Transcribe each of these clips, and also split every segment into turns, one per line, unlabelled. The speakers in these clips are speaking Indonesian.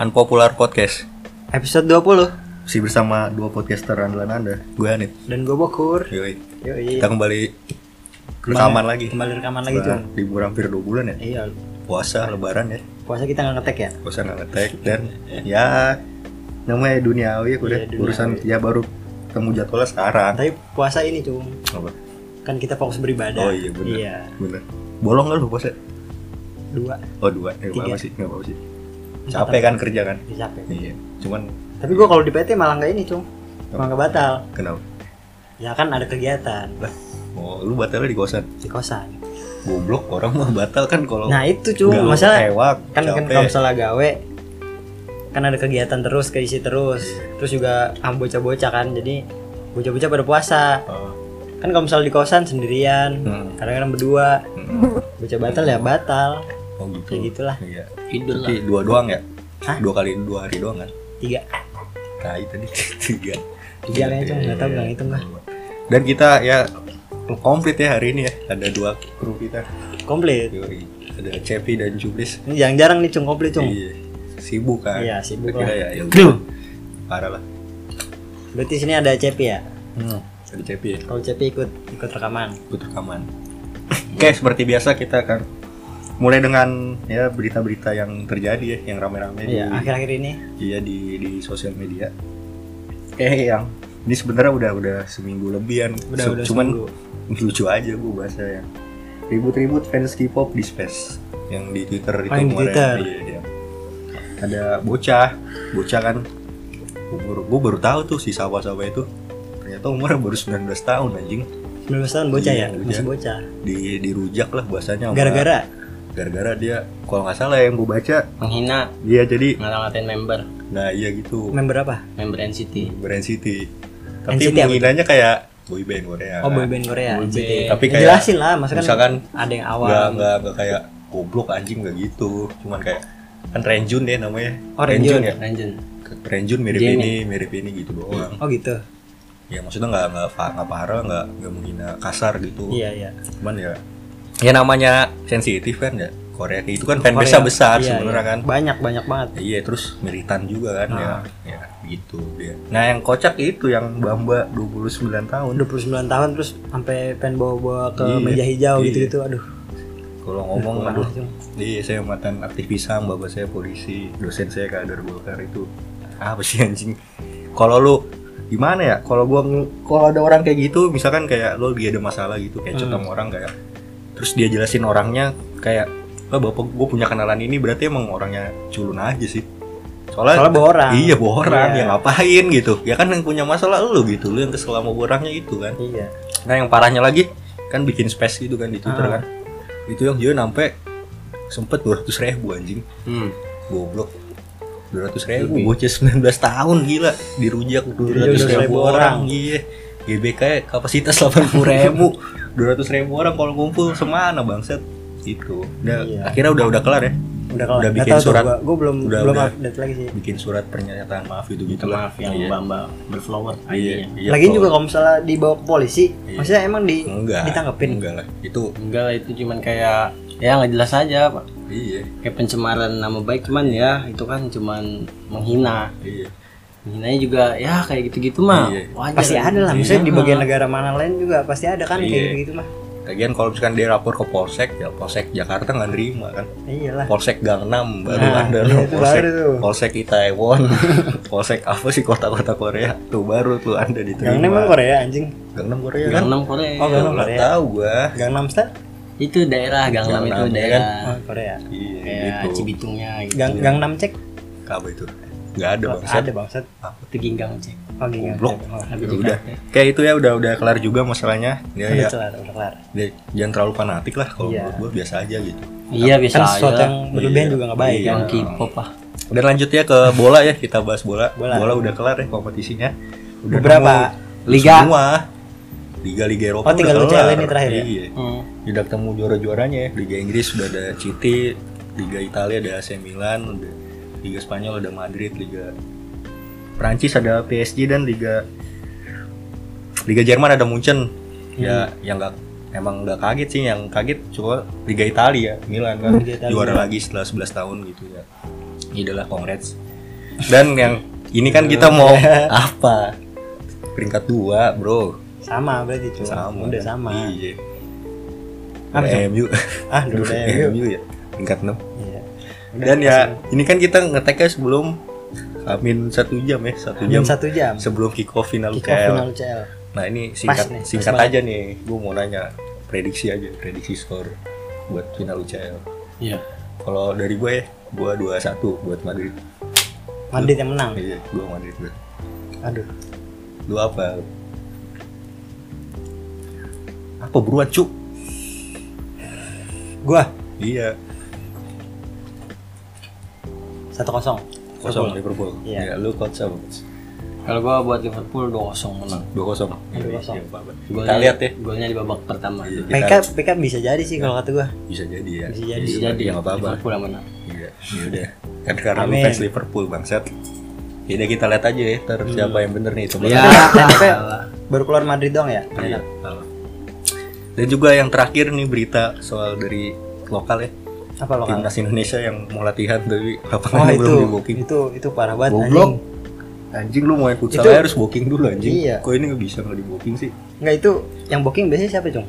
Unpopular Podcast
Episode 20
Masih bersama dua podcaster andalan anda Gue Anit
Dan gue Bokur
Yoi.
Yoi
Kita kembali rekaman lagi
Kembali rekaman lagi
Setelah
Jun
Libur hampir dua bulan ya
Iya
Puasa, lebaran ya
Puasa kita nggak ngetek ya
Puasa nggak ngetek Dan ya Namanya duniawi ya udah
Iya, duniawi.
Urusan ya baru Temu jadwalnya sekarang
Tapi puasa ini Cung
Apa?
Kan kita fokus
Oh
beribadah
iya bener
Iya
Bener Bolong nggak lu puasa?
Dua
Oh dua Ya
Tiga.
apa sih Nggak apa sih Capek kan kerja kan
Ih, Capek
Iya Cuman
Tapi gue kalau di PT malah nggak ini Cung
Apa?
Malah nggak batal
Kenapa?
Ya kan ada kegiatan
Lah Oh lu batalnya di kosan
Di kosan
Goblok orang mah batal kan kalau
Nah itu Cung
galau,
Masalah
ewak,
kan kan
capek.
kalau misalnya gawe kan ada kegiatan terus keisi terus terus juga am bocah-bocah kan jadi bocah-bocah pada puasa
Oh.
kan kalau misalnya di kosan sendirian
Hmm.
kadang-kadang berdua
Mm.
bocah batal ya batal
Oh gitu.
ya gitulah
Iya.
Idul lah.
Tapi dua doang ya?
Hah?
Dua kali dua hari doang kan?
tiga
Tai tadi tiga. Iya,
tiga kayaknya cuma nggak tahu nggak ngitung lah
Dan kita ya komplit ya hari ini ya. Ada dua kru kita.
komplit
Yoi. Ada Cepi dan Jublis.
ini jarang-jarang nih cung komplit cung
Iya. Sibuk kan?
Iya, sibuk
Kita
lah.
ya, ya
Kru.
Parah lah.
berarti sini ada Cepi ya
Ada Cepi ya.
kalau Cepi ikut ikut rekaman
Ikut rekaman. Oke, seperti biasa kita akan mulai dengan ya berita-berita yang terjadi ya, yang rame-rame di-
iya akhir-akhir ini
Iya di di sosial media. Eh yang ini sebenarnya udah udah seminggu lebihan.
udah
Cu-
udah
cuman
seminggu.
lucu aja gue bahasa yang ribut-ribut fans K-pop di space yang di Twitter itu
Oh, yang di Twitter.
Iya, iya. Ada bocah, bocah kan umur gue baru tahu tuh si sawa-sawa itu ternyata umurnya baru 19 tahun anjing
19 tahun bocah
Iya,
ya masih bocah
di dirujak lah bahasanya sama-
gara-gara
gara-gara dia kalau nggak salah yang gue baca
menghina
dia jadi
ngata-ngatain member
nah iya gitu
member apa
member NCT
Brand City. Tapi
NCT apa?
menghinanya kayak boy band Korea.
oh boyband Korea
Boy
NCT.
band.
Tapi
Ya,
kayak
jelasin lah maksudnya
misalkan
ada yang awal
nggak nggak nggak kayak goblok anjing nggak gitu. Cuman kayak kan Renjun deh namanya.
Oh, Renjun.
ya.
Iya,
Ranjen
Renjun mirip
Jenny.
ini, mirip ini gitu doang.
oh gitu
Ya maksudnya nggak nggak fa- nggak parah, nggak nggak menghina kasar gitu.
iya iya
Cuman ya ya namanya sensitif kan ya Korea itu kan fan
Korea.
besar besar
Iya,
sebenarnya
iya. Ah.
kan.
banyak banyak banget
Ya, Iya terus militan juga kan ya. Ya gitu dia. Nah yang kocak itu yang Bamba 29 tahun.
29 tahun terus sampai pengen bawa-bawa ke
Iya,
meja hijau
iya.
gitu-gitu aduh
Kalau ngomong
parah,
aduh,
Cung.
Iya, saya mantan aktivis HAM, bapak saya polisi, dosen saya kader Golkar itu. Apa sih anjing? Kalau lu gimana ya? Kalau gua ng- kalau ada orang kayak gitu, misalkan kayak lu dia ada masalah gitu, kayak chat sama orang kayak terus dia jelasin orangnya kayak "Lah, bapak gue punya kenalan ini berarti emang orangnya culun aja sih. Soalnya,
Soalnya bohorang.
Iya, bohorang.
Iya.
Ya ngapain gitu. Ya kan yang punya masalah lu gitu, lu yang kesel sama orangnya gitu kan.
iya
Nah yang parahnya lagi kan bikin space gitu kan di Twitter
Ah.
kan. Itu yang dia sampai sempet 200 ribu anjing.
hmm.
Goblok. 200 ribu bocah 19 tahun gila dirujak 200 ribu
200.000
orang iya. GBK kapasitas 80 ribu 200 ribu orang kalau ngumpul semana bangset itu udah,
Iya.
akhirnya udah udah kelar ya
udah kalau
Udah bikin surat.
gua, gua belum
Udah,
belum
udah.
update lagi sih
bikin surat pernyataan maaf itu gitu
minta
lah.
maaf yang
Iya.
bamba berflower
iya,
ID-nya
iya,
Lagian
kalau-
juga kalau misalnya dibawa ke polisi,
Iya.
maksudnya emang di
enggak
ditanggepin.
enggak lah itu
enggak lah itu cuman kayak ya nggak jelas aja pak
iya
kayak pencemaran nama baik cuman ya itu kan cuman menghina
iya
menghinanya juga ya kayak gitu-gitu mah
Iya.
wajar
Pasti ada lah, maksudnya di
Iya.
bagian negara mana lain juga pasti ada kan kayak
Iya.
gitu-gitu mah.
Lagian kalau misalkan dia lapor ke Polsek, ya Polsek Jakarta nggak nerima kan.
Iyalah.
Polsek Gangnam baru
Nah,
ada
iya,
loh.
itu
Polsek,
baru tuh.
Polsek Itaewon, Polsek apa sih kota-kota Korea tuh baru tuh anda diterima.
Gangnam emang Korea anjing.
Gangnam Korea kan?
Gangnam Korea
Oh, Gangnam
Nggak
Korea.
tahu gua.
Gangnam Style?
itu daerah Gangnam, itu
Gangnam, ya
daerah
Oh, Korea.
Iya,
kayak
gitu.
Cibitungnya gitu
Gang Gangnam Cek?
Iya, Apa itu? Nggak ada bang.
Ada bangsat.
itu Ginggang cek
Oh, Gangnam
Goblok.
Cek. Oh,
Habis
Ya Udah.
Jakarta.
Kayak itu ya udah udah kelar juga masalahnya. Ya
Udah
ya.
kelar, udah kelar. Kan
dia- Jangan terlalu fanatik lah kalau
Iya.
menurut gua biasa aja gitu.
iya biasa
Kan
aja
sesuatu yang berlebihan
Iya.
juga nggak baik
Iya.
kan.
yang K-pop ah
Dan lanjut ya ke bola ya kita bahas bola. Bola,
Bola.
udah kelar ya kompetisinya. Udah
Beberapa.
nemu
Liga.
semua. Liga Liga Eropa.
Oh, tinggal
udah
UCL
kelar.
ini terakhir ya?
Iya.
Hmm.
Udah ketemu juara-juaranya ya. Liga Inggris sudah ada City, Liga Italia ada AC Milan, udah Liga Spanyol ada Madrid, Liga Prancis ada PSG dan Liga Liga Jerman ada Munchen.
Hmm.
Ya yang nggak emang nggak kaget sih yang kaget cuma Liga Italia Milan kan
Liga Italia.
juara lagi setelah 11 tahun gitu ya. Ini adalah congrats Dan yang ini
Iya.
kan kita mau apa? Peringkat dua, bro.
sama berarti itu
Sama.
udah sama
Iya.
Apa
Udah
tuh?
MU.
ah udah
Udah
udah, yuk.
MU ya. Peringkat 6
Iya. Udah,
Dan ya,
langsung.
ini kan kita ngeteknya sebelum Amin satu jam ya, satu
Jam
jam
satu jam
sebelum kick off final
kick off final
UCL.
UCL
Nah ini singkat
Pas nih, pas
singkat
banget.
aja nih, gue mau nanya prediksi aja, prediksi skor buat final UCL.
Iya.
Kalau dari gue ya, gue 2-1 buat Madrid.
Madrid yang menang
Iya, gue Madrid. Gue.
aduh
Lu apa? Apa buruan cuk?
gua
Iya,
satu kosong
kosong Liverpool. Iya,
Iya.
lu coach apa?
Kalau gua buat Liverpool 2-0 menang.
Dua kosong.
Iya, 2-0.
Kita lihat ya.
Golnya di babak pertama.
Iya. Kita-
PK PK bisa jadi sih kalau kata gua
Bisa jadi ya.
Bisa jadi.
Bisa jadi
nggak apa-apa.
Liverpool yang menang.
Iya, ya udah. Kan karena lu
Amin.
fans Liverpool bangsat. Ya udah kita lihat aja ya, ntar siapa yang bener nih coba.
Iya.
TDP baru keluar Madrid dong ya
Iya. Dan juga yang terakhir nih berita soal dari lokal ya.
apa lo kan
Timnas Indonesia yang mau latihan tapi
oh
lapangannya
itu
belum di booking.
itu itu parah banget
Goblok.
anjing.
Anjing lu mau main futsal
Itu-
aja harus booking dulu anjing.
Iya.
Kok ini nggak bisa nggak di booking sih?
nggak itu yang booking biasanya siapa cung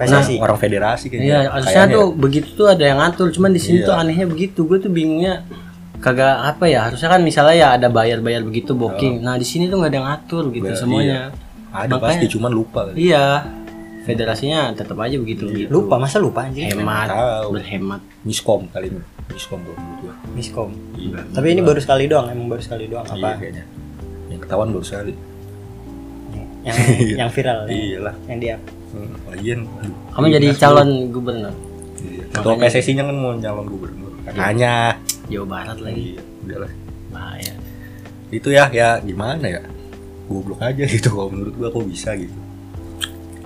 Nah,
PSSI
orang federasi
Iya,
kayaknya.
harusnya
Kayaknya
tuh begitu tuh ada yang ngatur, cuman di sini
Iya.
tuh anehnya begitu. Gue tuh bingungnya kagak apa ya harusnya kan misalnya ya ada bayar-bayar begitu
Oh.
booking. Nah, di sini tuh nggak ada yang ngatur gitu
Bayar,
semuanya.
Ada
Makanya-
pasti cuman lupa kali.
Iya. Federasinya tetap aja begitu begitu.
lupa masa lupa anjing
hemat,
Iya. Tahu.
berhemat.
Miskom kali ini. Miskom gua menurut gua.
miskom
Gila.
tapi ini baru sekali doang emang baru sekali doang
Iya
apa
kayaknya. Yang ketahuan baru sekali.
yang yang
Iya.
viral yang,
Iyalah.
yang dia
Hmm, Lagian aduh.
Kamu jadi calon gubernur
Iya. Ketua
Makanya-
PSSI-nya kan mau nyalon gubernur. Katanya.
Jawa Barat lagi.
Iya, udahlah.
Bahaya.
Itu ya, ya gimana ya? Goblok aja gitu kalau menurut gua kok bisa gitu.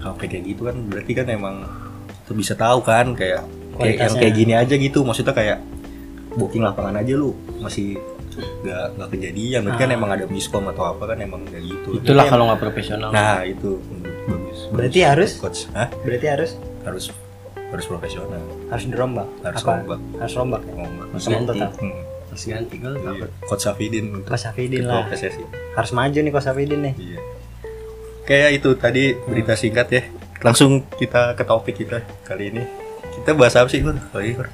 Sampai kayak gitu kan berarti kan emang itu bisa tahu kan kayak kayak yang
Kualitasnya.
kayak gini aja gitu maksudnya kayak booking lapangan aja lu masih nggak nggak kejadian berarti kan
Ah.
emang ada miskom atau apa kan emang kayak gitu
Itulah kalau nggak profesional.
nah itu menurut bagus
Berarti
Bagus,
harus-
coach Hah?
berarti harus
harus harus profesional
harus dirombak
harus
apa
rombak
harus rombak ya
rombak
Semua
Ganti.
total
Hmm,
Terus ganti gol
iya.
takut.
coach Safidin untuk
Kos Safidin
ketua
lah
PSSI
harus maju nih Kos Safidin nih
Iya. Kayak itu tadi berita singkat ya. Langsung kita ke topik kita kali ini. Kita bahas apa sih, Gur? Kali ini, Gur?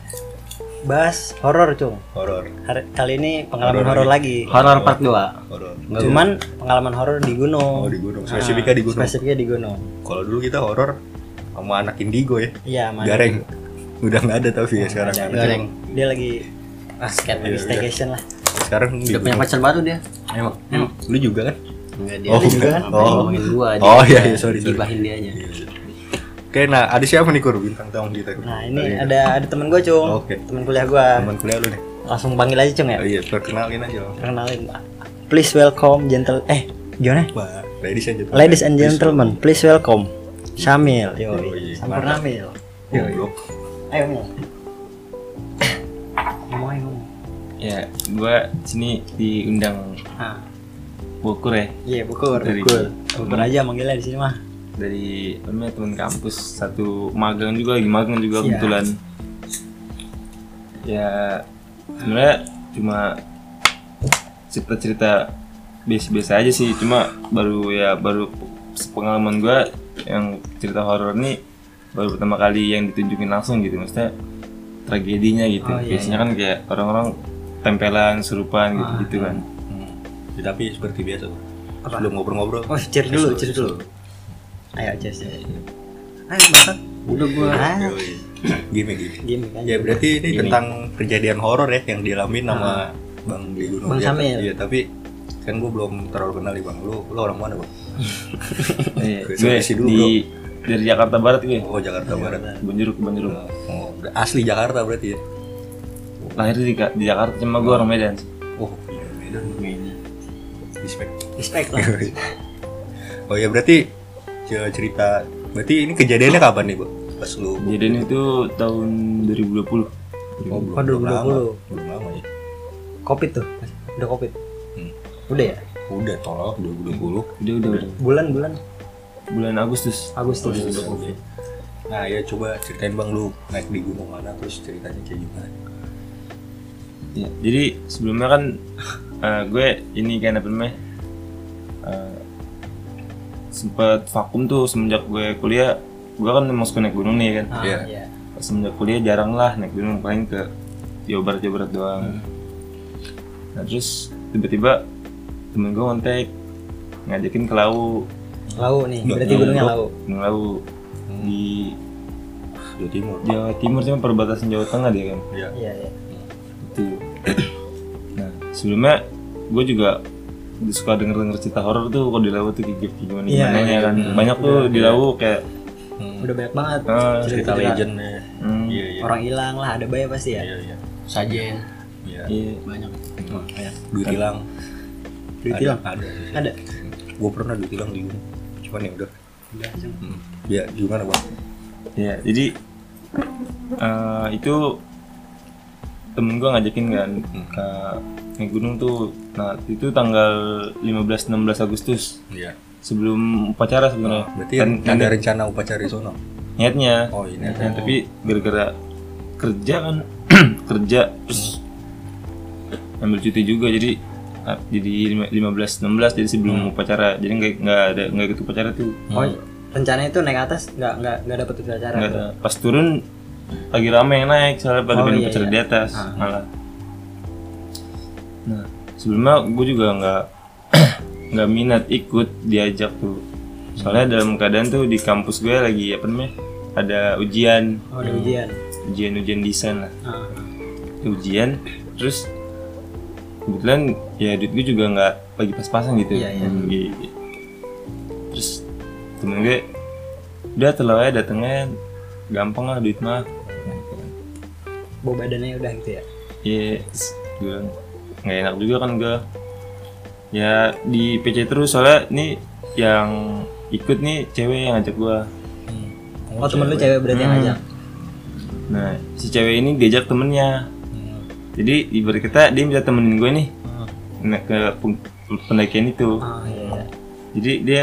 bahas horor cung
Horor.
Har- kali ini pengalaman
Horor
horor lagi
Horor part 2.
Horor.
cuman pengalaman horor di gunung Nah,
Oh, di gunung.
Ah,
Spesifiknya di gunung.
spesifiknya di gunung
Kalau dulu kita horor sama anak indigo ya.
iya mana
Gareng. Udah nggak ada tapi ya sekarang.
ada.
Gareng.
dia lagi
Basket
Iya,
lagi staycation lah
Sekarang di
Udah punya
gunung.
pacar baru dia.
Emang. Lu juga kan?
Enggak dia.
Oh,
Dia juga
enggak.
kan.
Oh.
Ngomongin gua dia.
Oh, iya, iya, sorry, sorry.
Gibahin dianya.
Oke, nah ada siapa nih Kur bintang tamu kita? Kur?
iya.
nah
Kali
ini ada ada temen gue cung
Iya. Oke.
temen kuliah gue
teman kuliah lu nih.
langsung panggil aja cung ya
Oh, iya, perkenalin aja langsung.
kenalin please welcome gentle eh gimana
Wah, ladies and gentlemen.
ladies and gentlemen please welcome Syamil yo
Yoi,
Sampur
mantap.
Namil
Goblok.
ayo Mil ngomong ayo, ngomong
Ya, gua sini diundang
ah
Bogor ya
iya bukur
Dari-
bukur bukur aja manggilnya di sini mah
dari apa namanya teman kampus satu magang juga lagi magang juga
Iya.
kebetulan. Ya sebenarnya cuma cerita-cerita biasa-biasa aja sih, cuma baru ya baru pengalaman gua yang cerita horor nih baru pertama kali yang ditunjukin langsung gitu maksudnya tragedinya gitu.
Oh, iya, Ah,
Biasanya kan kayak orang-orang tempelan, serupan gitu-gitu kan.
Hmm. Ya, tapi seperti biasa. Bang.
Apa?
Sebelum ngobrol-ngobrol.
oh cheers dulu cheers dulu ayo cheers ayo makan
Udah gua.
ah
Yoi. Gini gini.
game kan Ah.
Ya berarti ini
Gini.
tentang kejadian horor ya yang dialami sama Bang di Gunung.
Bang
Iya,
Samir.
Iya, tapi kan gue belum terlalu kenal nih Bang. Lu lu orang mana, Bang?
Iya,
Gue
gue
seleksi dulu,
di dari Jakarta Barat iya.
Iya.
gue.
Oh, Jakarta Barat.
Kebun jeruk, kebun jeruk.
Oh, asli Jakarta berarti ya.
Lahir di, di Jakarta cuma gue orang Medan. sih.
Oh, iya, Medan. Respect.
respect lah
Oh ya berarti ya, cerita berarti ini kejadiannya kapan nih, Bang? Pas lu
Kejadian itu tahun
Oh,
2020.
belum,
Oh,
belum lama.
2020.
Belum lama ya.
covid tuh udah covid
Hmm.
udah ya
Udah tolak 2020.
Udah, udah, udah.
bulan bulan
Bulan Agustus.
Agustus
iya.
Oke. Nah ya coba ceritain bang lu naik di gunung mana terus ceritanya kayak gimana?
Iya, Jadi sebelumnya kan eh, gue ini kan apa namanya eh, sempat vakum tuh semenjak gue kuliah gue kan emang suka naik gunung nih kan
Ah,
Iya.
iya.
semenjak kuliah jarang lah naik gunung paling ke Jawa Barat Jawa Barat doang
Hmm.
nah, terus tiba-tiba temen gue kontak ngajakin ke Lawu
Lau nih, berarti gunungnya lau.
Gunung Lawu di
Jawa Timur.
Jawa Timur cuma perbatasan Jawa Tengah dia kan
Iya.
Iya, iya.
itu nah sebelumnya gue juga suka denger denger cerita horor tuh kalau di laut tuh kayak gimana
Iya,
gimana
iya,
ya kan banyak tuh di laut kayak
Udah banyak banget
Ah,
Cerita
cerita-cerita.
Hmm. legendnya.
hmm,
Iya iya.
Orang hilang lah, ada banyak pasti ya.
Iya iya.
Sajen
Iya.
iya.
banyak.
Makanya duit hilang.
Duit
Ada-
hilang.
Ada.
Ada.
Gue pernah duit hilang di gunung. Cuman ya udah.
Udah, cuma.
Hmm. Ya gimana bang?
Iya, jadi eh, itu temen gue ngajakin kan ke naik gunung tuh nah itu tanggal 15-16 Agustus
Iya.
sebelum upacara sebenarnya
Oh, Berarti
Kan-
yang
kan
ada rencana upacara di sono.
niatnya
Oh ini.
Nah, tapi gara-gara kerja kan kerja terus ambil cuti juga jadi ah, jadi lima- 15 16 jadi sebelum
Hmm.
upacara jadi nggak nggak ada nggak ikut upacara tuh
Oh, rencananya itu naik atas nggak nggak nggak dapet upacara.
Hmm. nggak ada pas turun lagi rame yang naik soalnya pada
Oh,
main
iya,
upacara
iya.
di atas malah nah sebelumnya gue juga nggak nggak minat ikut diajak tuh soalnya dalam keadaan tuh di kampus gue lagi apa namanya ada ujian
Oh, ada ujian.
ujian ujian desain lah
Ah.
ujian terus kebetulan ya duit gue juga nggak lagi pas-pasan gitu
Iya, iya.
Hmm, iya, iya. terus temen gue udah telau aja datengnya gampang lah duit mah
Bau badannya udah gitu ya.
iya terus gue bilang, nggak enak juga kan gue ya di PC terus soalnya nih yang ikut nih cewek yang ngajak gue
Oh, temen lu cewek berarti yang
Hmm.
ngajak.
nah si cewek ini diajak temennya jadi ibarat kita dia minta temenin gue nih nah, ke peng- pendakian itu
Ah, iya, iya.
jadi dia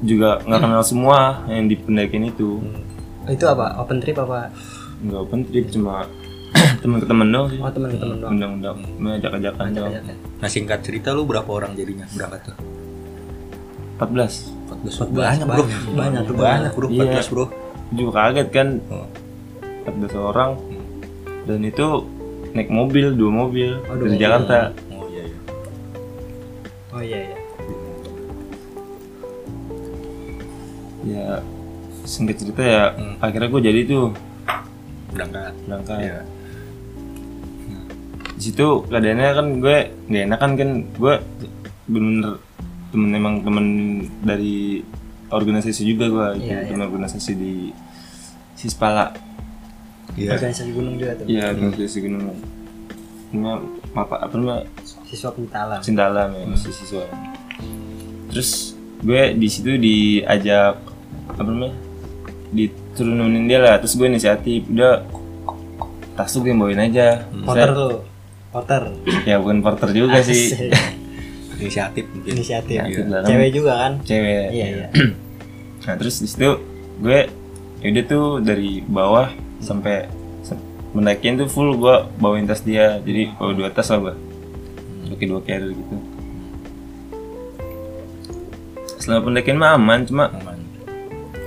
juga nggak kenal semua yang di pendakian itu Hmm.
Itu apa? Open trip apa?
nggak open trip cuma temen ke temen doang sih
Oh, temen ke temen doang. Iya,
undang-undang ajak ajakan doang
Ngajak-ngajak.
Nah singkat cerita lu berapa orang jadinya berangkat tuh? 14
14
banyak bro
banyak, banyak,
Itu banyak bro
Iya.
14 bro
juga kaget kan
Oh.
Hmm.
14 orang dan itu naik mobil dua mobil
Oh, dua
dari
mobil.
Jakarta
oh iya iya
Oh iya iya.
ya singkat cerita ya
Hmm.
akhirnya gue jadi tuh
berangkat
berangkat
iya
di situ keadaannya kan gue nggak enakan kan gue bener temen emang temen dari organisasi juga gue
Iya, iya.
temen organisasi di Sispala
iya
Organisasi gunung juga tuh.
iya organisasi gunung cuma apa apa namanya
Siswa penitalan.
Sindalam ya masih siswa terus gue di situ diajak apa namanya diturunin dia lah terus gue inisiatif udah tas tuh gue bawain aja
Porter
Saya-
lu. Porter.
ya bukan porter juga sih
Asik.
inisiatif mungkin
Inisiatif.
Ya, itu lah kan.
Cewek juga kan?
cewek
Iya iya.
nah terus di situ gue yaudah tuh dari bawah sampai sam- mendakian tuh full gue bawain tas dia jadi bawa dua tas lah gue pakai dua carrier gitu selama pendakian mah aman cuma
aman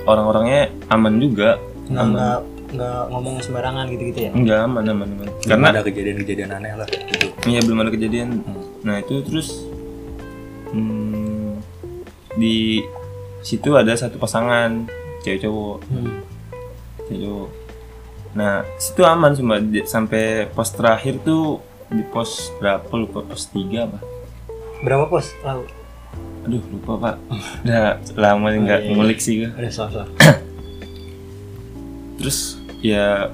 orang-orangnya aman juga
Nggak nggak nggak ngomong sembarangan gitu-gitu ya.
enggak aman aman aman
karena
karena
ada kejadian-kejadian aneh lah gitu
Iya belum ada kejadian. Nah itu terus hmm, di situ ada satu pasangan cewek cowok,
Hmm.
cewek cowok. Nah situ aman cuma di- sampai pos terakhir tuh di pos berapa lupa pos tiga apa?
Berapa pos? Lau.
Aduh lupa pak. Udah lama nggak
iya, iya.
ngulik sih gua.
Udah salah.
Terus ya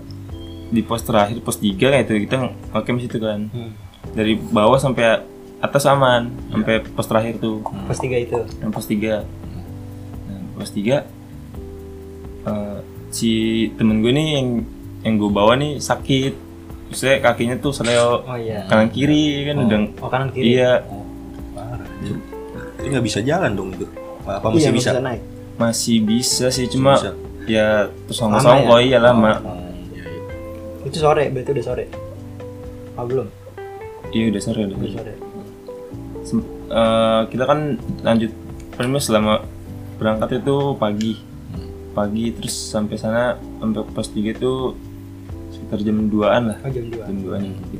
di pos terakhir pos tiga kayak itu kita ngakem situ kan.
Hmm.
Dari bawah sampai atas aman sampai
Iya.
pos terakhir tuh.
Pos tiga itu.
yang pos tiga nah, pos tiga eh, si temen gue nih yang yang gue bawa nih sakit saya kakinya tuh seleo
Oh iya.
kanan kiri kan udah
Oh kanan kiri.
iya
oh parah ini nggak bisa jalan dong itu apa
Iya,
masih
nggak
bisa
naik.
masih bisa sih cuma
bisa.
ya tersongkok-songkok
Lama ya?
iya lama
Hmm, iya, iya.
Itu sore, berarti udah sore. Oh belum.
iya udah sore udah sore Sem- eh, kita kan lanjut Pertama selama berangkat itu pagi
Hmm.
pagi terus sampai sana sampai pos 3 itu sekitar jam 2an lah
Oh, jam 2.
jam 2an gitu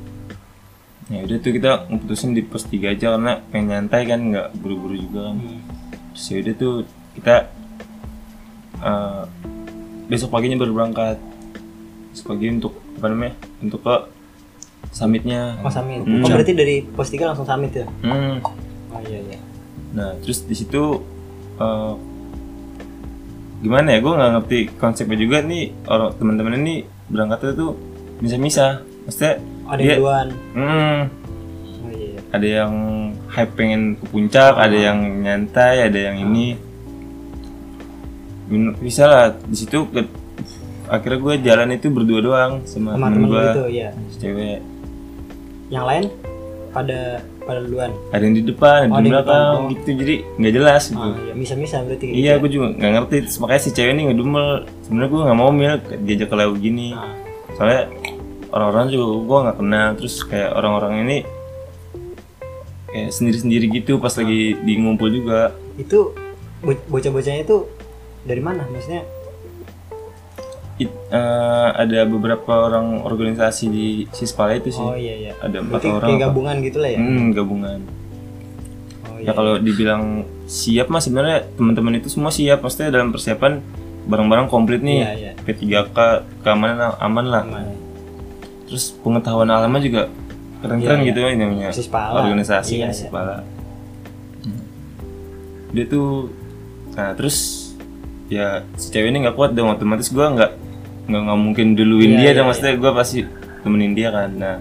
ya udah tuh kita ngeputusin di pos 3 aja karena pengen nyantai kan nggak buru-buru juga kan terus ya udah tuh kita eh, besok paginya baru berangkat besok pagi untuk apa namanya untuk ke summitnya
Oh, summit.
Hmm.
Oh, berarti dari pos 3 langsung summit ya?
Hmm.
Oh iya iya.
Nah, terus di situ eh, gimana ya? Gue nggak ngerti konsepnya juga nih orang teman-teman ini berangkatnya tuh bisa-bisa. Maksudnya
Ada
dia,
yang duluan.
Hmm,
Oh iya. iya.
ada yang hype pengen ke puncak, ada yang nyantai, ada yang ini. Min- Bisa lah di situ ke- akhirnya gue jalan itu berdua doang sama,
Sama temen lu
temen gitu. gue,
itu ya.
cewek.
Yang lain pada pada duluan.
Ada yang di depan, ada
Oh,
yang
ada yang
di
di depan.
belakang
Oh.
gitu, jadi nggak jelas gitu.
Oh iya, misa-misa berarti kayak
Iya,
gitu.
gue juga nggak ngerti. Terus makanya si cewek ini ngedumel. Sebenarnya gue nggak mau mil diajak ke laut gini.
Nah,
Soalnya orang-orang juga gue nggak kenal. Terus kayak orang-orang ini kayak sendiri-sendiri gitu pas lagi di ngumpul juga.
itu bo- bocah-bocahnya itu dari mana maksudnya?
It- eh, ada beberapa orang organisasi di Sispala itu sih.
Oh iya iya.
Ada empat
Berarti
orang.
kayak
apa.
gabungan gitu lah ya.
Hmm, gabungan.
Oh
Ya kalau dibilang siap mah sebenarnya teman-teman itu semua siap. Maksudnya dalam persiapan barang-barang komplit nih.
Iya, iya.
P3K keamanan aman lah.
Aman.
terus pengetahuan alamnya juga keren-keren
Iya,
gitu kan namanya
Sispala.
organisasi
Iya,
kan
iya.
Sispala. Hmm. dia tuh nah terus ya si cewek ini nggak kuat dong otomatis gua nggak nggak nggak mungkin
Iya,
duluin dia
iya,
dong maksudnya gua pasti temenin dia kan nah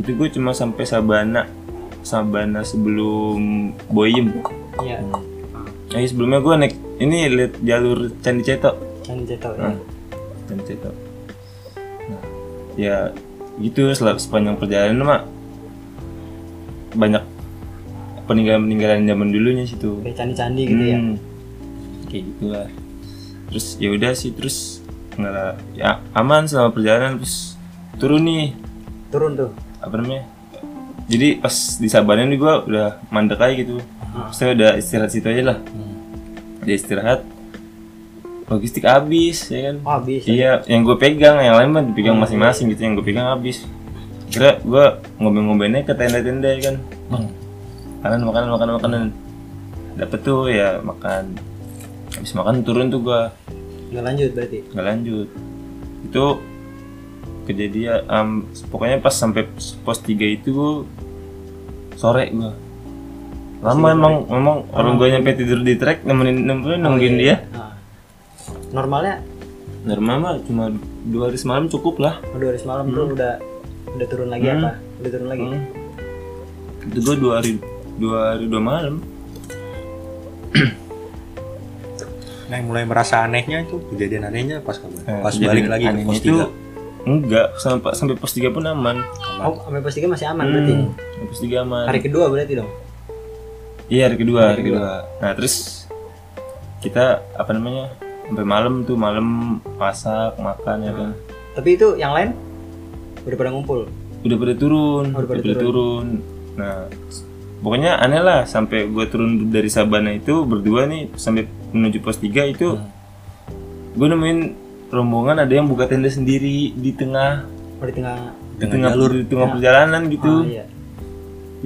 itu gue cuma sampai Sabana Sabana sebelum Boyim
Iya.
nah sebelumnya gua naik ini lihat jalur Candi Cetok
Kan jatuh.
Nah, dan cetak. Nah, ya gitu sel- sepanjang perjalanan mak banyak peninggalan-peninggalan zaman dulunya situ.
Kayak candi-candi gitu ya.
Hmm, Kayak gitulah. Terus ya udah sih terus nggak ya aman selama perjalanan terus turun nih
Turun tuh.
apa namanya jadi pas di Sabana nih gue udah mandek aja gitu
Ah.
saya udah istirahat situ aja lah
Hmm.
udah istirahat logistik habis ya kan
Oh, habis.
Iya, yang gue pegang, yang lain mah dipegang masing-masing gitu, yang gue pegang habis. Kira gue ngombe-ngombennya ke tenda-tenda ya kan. Bang, makanan, makanan, makanan, makanan. Dapet tuh ya makan. Habis makan turun tuh gue,
Nggak lanjut berarti.
nggak lanjut. Itu kejadian, em, pokoknya pas sampai pos 3 itu gue sore gue. Lama emang, emang orang gue nyampe tidur di trek nemenin nemenin nungguin dia.
Nah. Normalnya
iya, Normal mah cuma dua hari semalam cukup lah.
Aduh, hari semalam tuh udah udah turun lagi apa? Udah turun lagi.
Hmm. Iya. Itu gue dua hari dua hari dua malam.
Nah, yang mulai merasa anehnya itu kejadian anehnya pas kapan?
Nah,
pas
kejadian
balik lagi ke
anehnya
Eh, pos
itu
tiga.
enggak sampai sampai pos 3 pun aman.
Oh, sampai pos tiga masih aman berarti.
Hmm, sampai pos 3 aman.
Hari kedua berarti dong.
Iya hari kedua, hari, kedua. Nah terus kita apa namanya sampai malam tuh malam masak makan ya kan.
Tapi itu yang lain udah pada ngumpul.
Udah pada turun,
Oh, udah pada
turun. Nah s- pokoknya aneh lah sampai gue turun dari Sabana itu berdua nih sampai menuju pos 3 itu
Hmm.
gue nemuin rombongan ada yang buka tenda sendiri di tengah
Oh, di tengah
di tengah jalur di tengah perjalanan gitu
Ah, iya.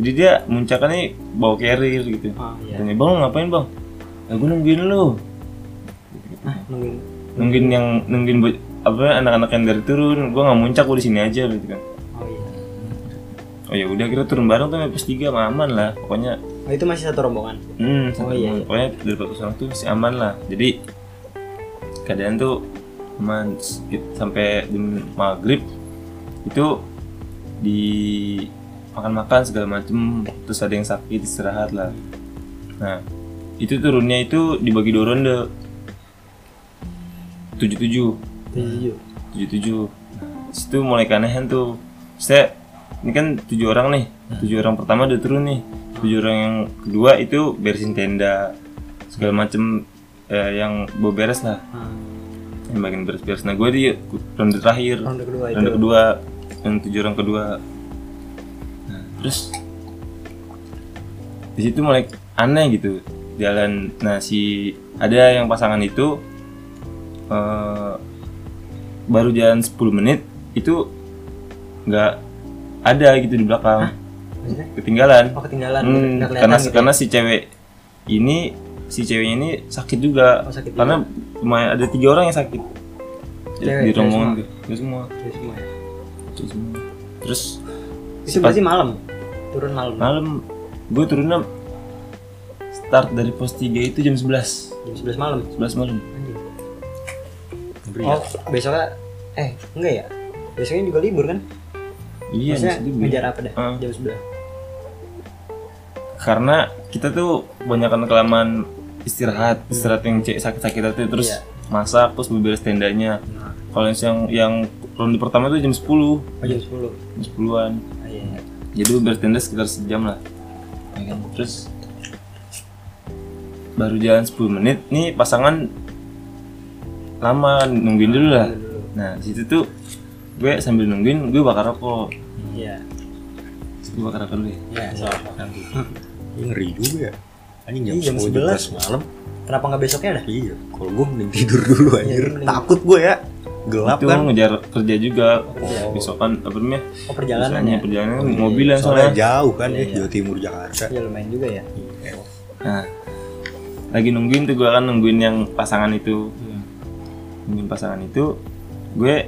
jadi dia muncakannya bawa carrier gitu
Ah, iya.
tanya bang lu ngapain bang ya, gue nungguin lu
Ah, nungguin.
nungguin yang nungguin bo- apa anak-anak yang dari turun gue nggak muncak gue di sini aja gitu kan
Oh iya.
oh ya udah kita turun bareng tuh sampai pos tiga mah aman lah pokoknya
Oh, itu masih satu rombongan.
hmm,
Oh,
oh,
iya.
pokoknya dari pos orang tuh masih aman lah jadi keadaan tuh aman Terus kita- sampai jam maghrib itu di makan-makan segala macem terus ada yang sakit istirahat lah nah itu turunnya itu dibagi dua ronde tujuh tujuh Hmm.
Tujuh.
tujuh tujuh situ mulai keanehan tuh saya ini kan tujuh orang nih tujuh orang pertama udah turun nih tujuh orang yang kedua itu beresin tenda segala macem eh, yang mau beres lah
Ah,
yang bagian beres-beres nah gue di ronde terakhir
ronde kedua itu.
ronde kedua yang tujuh orang kedua nah, terus di situ mulai aneh gitu jalan nah si ada yang pasangan itu eh, baru jalan 10 menit itu nggak ada gitu di belakang ketinggalan
Oh ketinggalan,
Hmm,
nggak kelihatan
karena
gitu ya?
karena si cewek ini si ceweknya ini sakit juga
Oh, sakit
karena cuma ada tiga orang yang sakit
Cewek,
di
cewek
rombongan
semua.
itu
Itu
semua
semua ya.
cewek semua. Gitu terus
Itu berarti malam. Turun malam.
malam gue turunnya start dari pos 3 itu jam 11
Jam 11 malam.
11 malam
Anjing.
Iya.
Oh,
ya.
besoknya eh enggak ya? Besoknya juga libur kan?
iya Ah.
Maksudnya
di situ gue.
ngejar apa dah?
Heeh.
Jam 11.
karena kita tuh kebanyakan kelamaan istirahat istirahat yang cek sakit-sakit itu terus
Hmm. Iya.
masak terus beberes tendanya
Nah,
kalau yang yang ronde pertama tuh jam 10
oh, jam 10.
jam 10-an
Ah, iya. iya.
jadi beberes tenda sekitar sejam lah Ya kan? terus baru jalan 10 menit nih pasangan lama nungguin dulu lah
Dulu.
nah di situ tuh gue sambil nungguin gue bakar rokok
Iya.
gue bakar rokok dulu ya
Iya, soal-
Nanti. Ih, ngeri juga ya. Anjing jam,
Iya, jam
10, 11
11.
malam.
Kenapa nggak besoknya dah?
Iya, kalau gue mending tidur dulu anjir.
mending.
Takut gue ya. Gelap
itu
kan.
ngejar kerja juga
Kerja.
besokan apa namanya
Oh, perjalanan
Misalnya
ya.
perjalanan kan mobilan
Soalnya
soalnya.
jauh kan ya,
Iya, iya.
Jawa Timur Jakarta.
Ya lumayan juga ya.
Nah, lagi nungguin tuh gue kan nungguin yang pasangan itu, nungguin pasangan itu, gue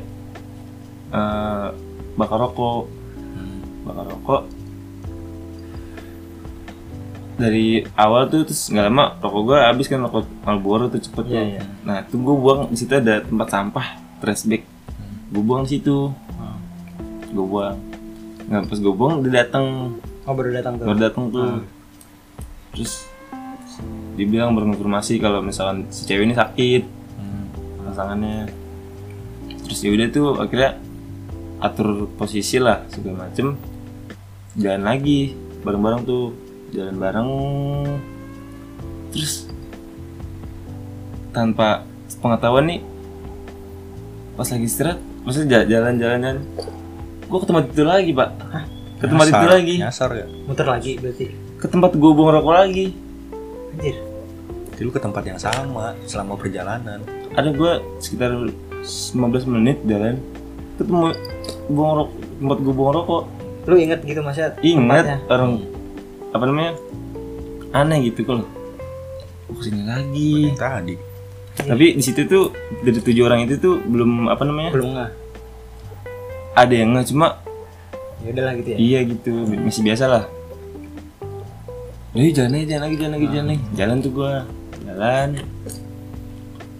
eh, bakar rokok,
Hmm.
bakar rokok. Dari awal tuh terus nggak lama rokok gue habis kan rokok Marlboro tuh cepet
Iya,
tuh.
iya.
Nah, tuh gue buang di situ ada tempat sampah trash bag. Gue buang di situ. Gue buang. Nah, pas gue buang dia datang
Oh, baru datang tuh.
baru datang tuh terus dibilang berinformasi kalau misalkan si cewek ini sakit pasangannya terus ya udah tuh akhirnya atur posisi lah segala macem jalan lagi bareng-bareng tuh jalan bareng terus tanpa pengetahuan nih pas lagi istirahat maksudnya jalan-jalan kan, gue ke tempat itu lagi pak Hah? ke tempat itu
Nyasar,
lagi
Nyasar ya.
Muter lagi berarti.
ke tempat gue buang rokok lagi
Anjir.
Jadi lu ke tempat yang sama selama perjalanan.
ada gue sekitar 15 menit jalan ketemu buang rokok tempat gue buang rokok
Lu inget gitu Mas ya?
ingat
tempatnya?
orang apa namanya aneh gitu kalau oh, kesini lagi
Yang tadi.
tapi di situ tuh dari tujuh orang itu tuh belum apa namanya
Belum ah. nggak?
ada yang nggak cuma
Ya udahlah gitu ya.
iya gitu bi- masih biasa lah Jadi jalan lagi jalan lagi jalan lagi jalan lagi jalan tuh gue jalan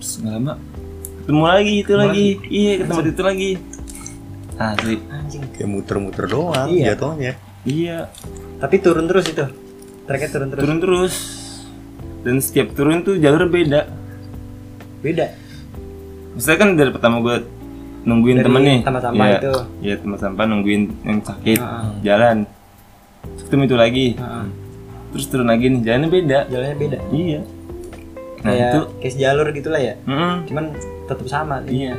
terus nggak lama ketemu lagi itu lagi iya ketemu itu lagi asli
Anjing.
Kayak muter-muter doang
Iya.
jatuhnya.
Iya,
Tapi turun terus itu. Treknya turun terus.
turun terus. Dan setiap turun tuh jalur beda.
Beda.
Misalnya kan dari pertama gue nungguin
Dari
temen nih.
tempat sampah
Iya,
itu.
Iya, teman sampah nungguin yang sakit.
Ah.
Jalan. Terus Ketemu itu lagi.
Heeh.
Terus turun lagi nih, jalannya beda.
Jalannya beda.
Iya. Nah,
Kayak
itu
kayak jalur gitulah ya.
mm-mm,
Cuman tetap sama. sih.
iya.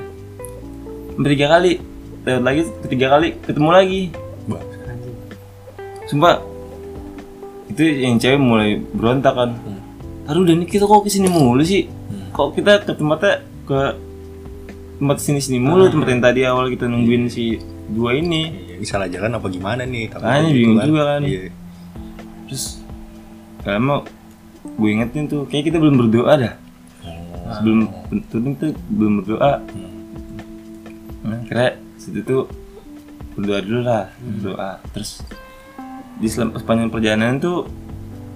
Hampir Tiga kali. Lewat lagi ketiga kali ketemu lagi.
Bah,
Anjing.
Sumpah itu yang cewek mulai berontak kan. Aduh dan kita kok kesini mulu sih? Kok kita ke tempatnya ke tempat sini sini mulu tempat yang tadi awal kita nungguin si dua ini.
iya, ini salah jalan apa gimana nih? Takut
Makanya
gitu
bingung juga kan.
Iya.
Terus kalau mau gue ingetin tuh kayak kita belum berdoa dah. Sebelum turun tuh belum berdoa. Nah, kira situ tuh berdoa dulu lah, berdoa. Terus di selam- sepanjang perjalanan tuh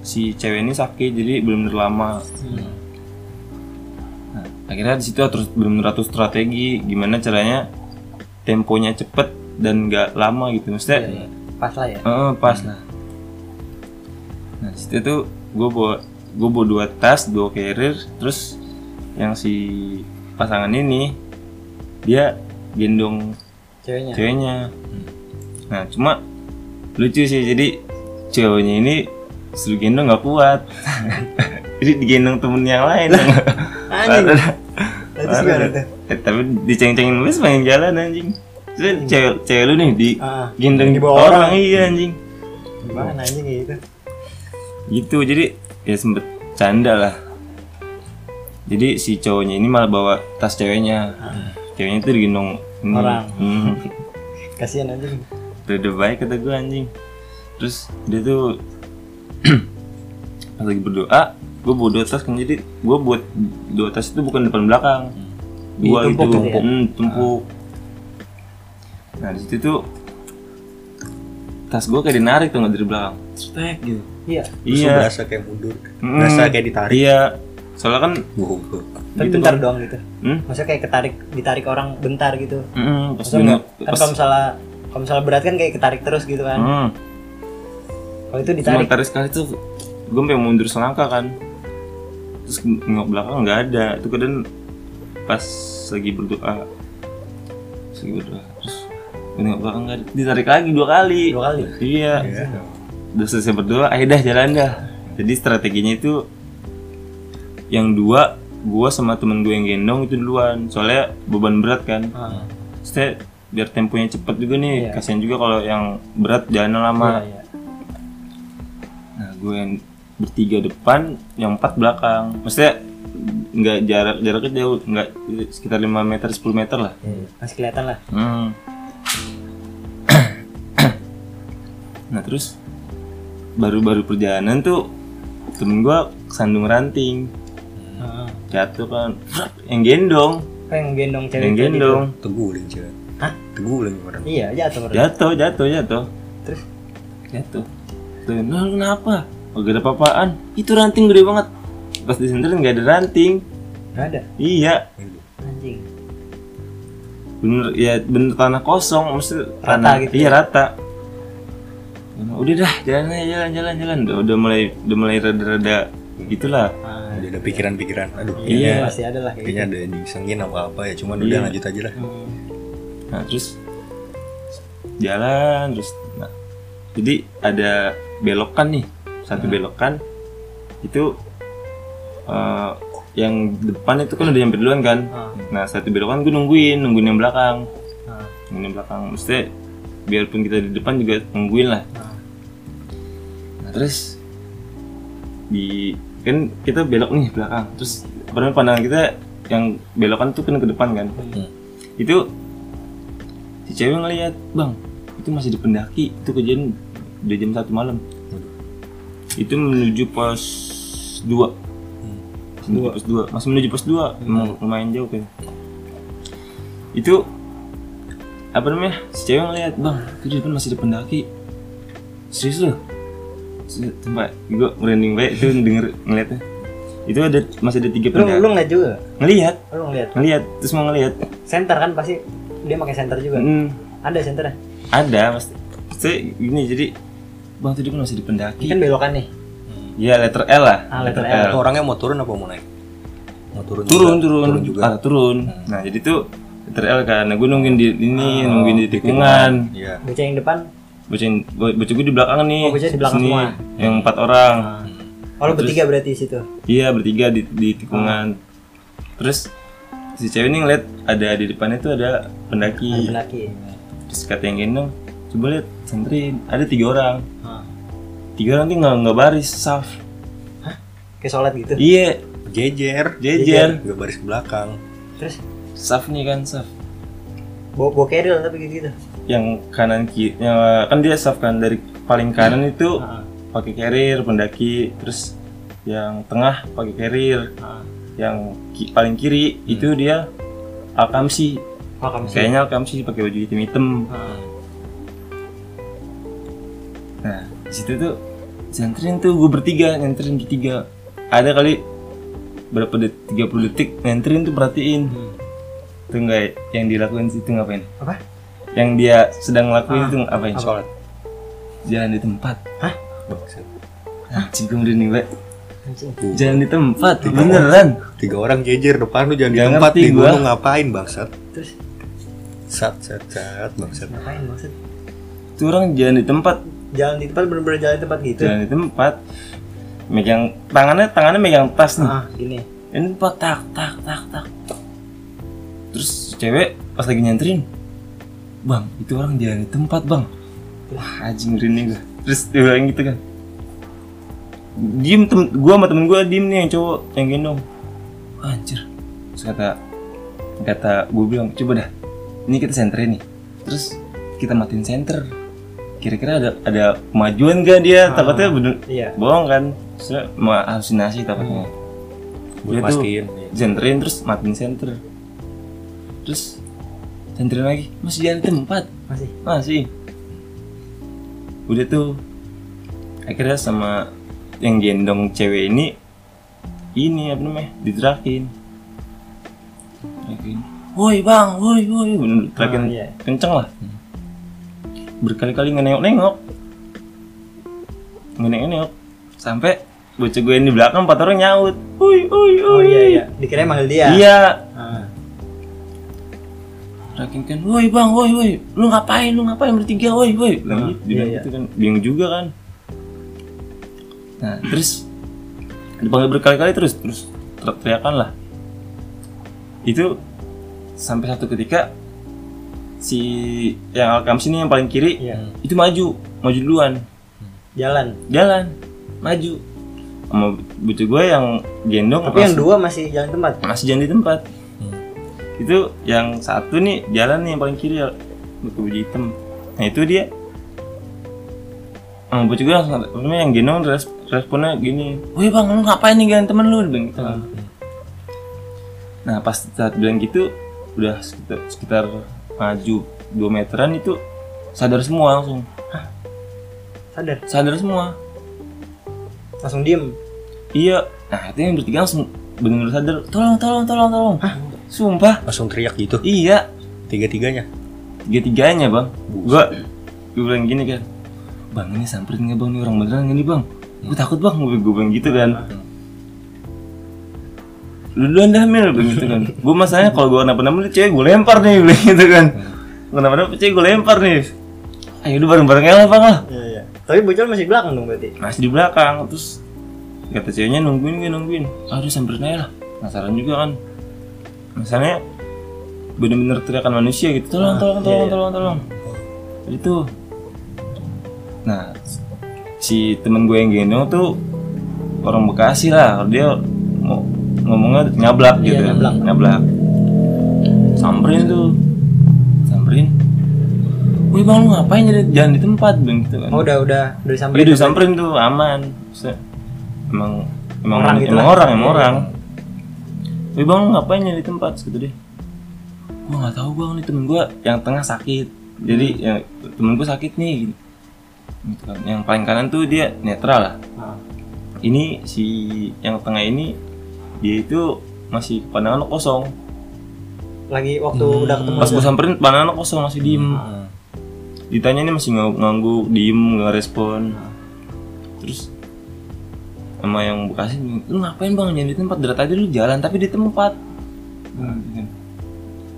si cewek ini sakit jadi belum terlama. Nah, akhirnya di situ terus belum teratur strategi gimana caranya temponya cepet dan nggak lama gitu maksudnya
Pas lah ya.
Heeh, Oh, pas lah. Nah, di situ tuh gue bawa gue bawa dua tas, dua carrier, terus yang si pasangan ini dia gendong
Ceweknya.
ceweknya.
Hmm.
Nah, cuma lucu sih jadi ceweknya ini suruh gendong nggak kuat. jadi digendong temen yang lain.
Anjing. Nah, Terus
Parah.
gimana tuh?
Eh, tapi diceng-cengin terus pengen jalan anjing. Terus cewek, cewek lu nih di
Ah,
gendong
dibawa
orang,
orang.
iya anjing.
gimana aja gitu
gitu jadi ya sempet canda lah jadi si cowoknya ini malah bawa tas ceweknya ceweknya itu digendong ini.
Orang.
Hmm.
kasihan aja
udah baik kata gue anjing terus dia tuh pas lagi berdoa gue bawa dua tas kan jadi gue buat dua tas itu bukan depan belakang gua
Hmm. Ditumpuk
itu
gitu ya?
hmm, tumpuk nah di situ tuh tas gue kayak dinarik tuh nggak dari belakang Stek, gitu
iya
Terus lu
iya
berasa kayak mundur
Mm.
berasa kayak ditarik
iya soalnya kan
Bohong.
tapi
Gitu
bentar
kan.
doang gitu
hmm?
maksudnya kayak ketarik ditarik orang bentar gitu
Mm, pas
maksudnya
dina-
kan
pas-
kalau misalnya kalau misalnya berat kan kayak ketarik terus gitu kan
Hmm.
kalau itu
Cuma
ditarik
tarik sekali tuh gue pengen mundur selangkah kan terus nengok belakang nggak ada itu kemudian pas lagi berdoa pas lagi berdoa terus gue nengok belakang nggak ada ditarik lagi dua kali
dua kali
iya
Iya.
udah selesai berdoa ayo dah jalan dah jadi strateginya itu yang dua gua sama temen gue yang gendong itu duluan soalnya beban berat kan
Ah,
Maksudnya biar temponya cepet juga nih
Iya.
kasihan juga kalau yang berat jalan lama
iya, iya.
Nah, gue yang bertiga depan, yang empat belakang. Maksudnya nggak jarak jaraknya jauh, nggak sekitar 5 meter 10 meter lah.
Iya, masih kelihatan lah
Hmm. nah terus baru-baru perjalanan tuh temen gue kesandung ranting
Ah,
jatuh kan Frap, yang gendong
kan yang gendong cewek
yang
tadi
gendong
teguling cewek
Hah?
teguling orang
tuh. iya jatuh berarti.
jatuh jatuh jatuh
terus
jatuh tuh nah, lu kenapa Oh, gak ada papaan itu ranting gede banget pas disenterin nggak ada ranting
nggak ada
iya
anjing
bener ya bener tanah kosong maksudnya
Rata
tanah
gitu
iya
ya?
rata udah dah jalan aja jalan jalan jalan udah, udah mulai udah mulai rada rada gitulah
Ah,
Udah ada pikiran-pikiran aduh
Iya.
kayaknya
pasti ada lah kayak
kayaknya ada yang disengin apa apa ya cuman udah lanjut aja
Iya.
lah
Ah,
nah terus jalan terus nah, jadi ada belokan nih satu belokan itu eh, yang depan itu kan udah nyampe duluan kan
Ah.
nah satu belokan gue nungguin nungguin yang belakang
gitu. Ah,
nungguin yang belakang mesti biarpun kita di depan juga nungguin lah
ah.
Nah, terus di kan kita belok nih belakang. Terus apa namanya, pandangan kita yang belokan tuh kan ke depan kan.
Hmm.
Itu si cewek ngeliat, bang itu masih di pendaki. Itu kejadian udah jam satu malam. Itu menuju pos dua. Menuju pos dua. Masih menuju pos dua. Emang lumayan jauh kan. Itu apa namanya si cewek ngeliat bang itu di depan masih di pendaki serius loh tempat gue merinding banget itu denger ngeliatnya itu ada masih ada tiga
lu lu
pendaki
ngeliat juga
ngeliat
lu ngeliat
ngeliat terus mau ngeliat
center kan pasti dia pakai center juga
Mm,
ada center
ada pasti saya gini jadi bang tuh dia kan masih di pendaki
kan belokan nih
ya letter L lah
Ah, letter L.
Itu orangnya mau turun apa mau naik mau turun
turun
juga?
turun
turun juga
Ah, turun nah jadi tuh letter L kan nah gue nungguin di ini nungguin di tikungan
iya
bocah yang depan
bocah bocah gue di belakang Ah. nih
Oh, bocah di belakang
sini,
semua.
yang empat orang
oh lu bertiga berarti di situ
Iya bertiga di, di tikungan. Terus si cewek ini ngeliat ada di depannya tuh ada
ada
pendaki.
pendaki
Terus kata yang gendong, coba lihat sentrin ada tiga orang.
Ah.
Tiga orang tuh nggak nggak baris, saf.
kayak sholat gitu
Iya,
jejer
jejer,
juga baris ke belakang
terus
saf nih kan saf.
bawa bawa keril tapi gitu gitu
Yang kanan kiri, kan dia saf kan dari paling kanan itu
Ah.
pakai carrier pendaki. Terus yang tengah pakai carrier.
Ah.
Yang ki- paling kiri itu dia akamsi.
oh kamu sih
Kayaknya akamsi pakai baju hitam hitam.
Ah.
Nah, di situ tuh nyentrin tuh gue bertiga, nyentrin bertiga. Ada kali berapa detik, 30 detik nyentrin tuh perhatiin. Tuh enggak yang dilakuin situ ngapain?
apa
Yang dia sedang ngelakuin itu ngapain?
sholat
Jalan di tempat.
hah
Bangsat.
Anjing gue merinding banget.
anjing
Jalan di tempat, beneran.
tiga orang jejer depan lu jangan di
Nggak
tempat
ngerti
di
gua.
gunung ngapain bangsat
terus
sat sat sat bangsat
Iya
ngapain maksud
Tuh orang jalan di tempat,
jalan di tempat bener-bener jalan di tempat gitu
jalan di tempat. Megang tangannya, tangannya megang tas nih.
ah gini
Ini tempat tak tak tak tak. Terus si cewek pas lagi nyentrin, bang itu orang jalan di tempat bang. wah anjing merinding gue terus dia bilang gitu kan diem tem gue sama temen gue diem nih yang cowok yang gendong anjir terus kata kata gue bilang coba dah ini kita senterin nih terus kita matiin senter kira-kira ada ada kemajuan gak dia takutnya bener
iya.
bohong kan terus mah halusinasi takutnya
Buat
tuh
mastiin, iya.
senterin terus matiin senter terus senterin lagi masih di tempat
masih
masih udah tuh akhirnya sama yang gendong cewek ini ini apa namanya diterakin Diterakin. woi bang woi woi Bener, diterakin
Ah, iya.
kenceng lah berkali-kali nggak nengok-nengok nggak nengok-nengok sampai bocah gue yang di belakang empat orang nyaut woi woi woi
oh iya iya dikira manggil dia
iya
Ah.
Rakin kan, woi bang, woi woi, lu ngapain, lu ngapain bertiga, woi woi, bilang gitu, bilang
iya,
gitu kan, bingung juga kan. Nah terus dipanggil berkali-kali terus, terus ter- teriakan lah. Itu sampai satu ketika si yang Alkam sini yang paling kiri,
Iya.
itu maju, maju duluan
jalan
jalan maju sama butuh gue yang gendong
tapi yang dua masih jalan tempat
masih jalan di tempat itu yang satu nih jalan nih yang paling kiri buku baju hitam nah itu dia sama bocah gue langsung kata- maksudnya yang gendong res- responnya gini woi bang lu ngapain nih gendong temen lu Dia bilang gitu kan. nah pas saat bilang gitu udah sekitar, sekitar maju 2 meteran itu sadar semua langsung
sadar
sadar semua
langsung diem
Iya. Nah, itu yang bertiga langsung benar-benar sadar. Tolong, tolong, tolong, tolong. Hah? Sumpah.
langsung teriak gitu
Iya.
tiga-tiganya
Tiga-tiganya, Bang. Gua gua bilang gini kan. Bang, ini samperin nggak Bang? Ini orang beneran nggak nih, Bang? Gue takut, Bang. Gue gue bilang gitu kan. Lu duluan dah, Mil. Bilang gitu kan. Gue masalahnya kalau gue kenapa-napa nih cewek gue lempar nih. Bilang gitu kan. Kenapa-napa cewek gue lempar nih. Ayo udah bareng-bareng aja lah, Bang lah.
iya iya tapi bocor masih di belakang dong berarti
masih di belakang terus kata ceweknya nungguin gue nungguin aduh samperin aja lah penasaran juga kan misalnya bener-bener teriakan manusia gitu tolong tolong tolong tolong tolong itu nah si temen gue yang gendong tuh orang Bekasi lah dia ngo- ngomongnya nyablak gitu nyablak. samperin tuh samperin Wih bang lu ngapain jadi jalan di tempat bang gitu kan
oh udah udah udah
Iya
disamperin
udah samperin tuh aman. Se- Emang emang
Orang
orang,
gitu
emang
lah.
orang, emang orang. Wih bang lu ngapain nyari tempat gitu deh. Gua nggak tahu bang, nih temen gua yang tengah sakit. Jadi
Hmm.
yang temen gua sakit nih. Gitu. Gitu kan. Yang paling kanan tuh dia netral lah.
Ah.
Ini si yang tengah ini dia itu masih pandangan kosong.
lagi waktu udah ketemu
Hmm.
Ah.
Pas gua samperin pandangan kosong masih diem
Hmm.
ditanya ini masih nganggu- ngangguk diem nggak respon terus sama yang bekasi lu ngapain bang jangan di tempat dari tadi lu jalan tapi di tempat Nah, gitu.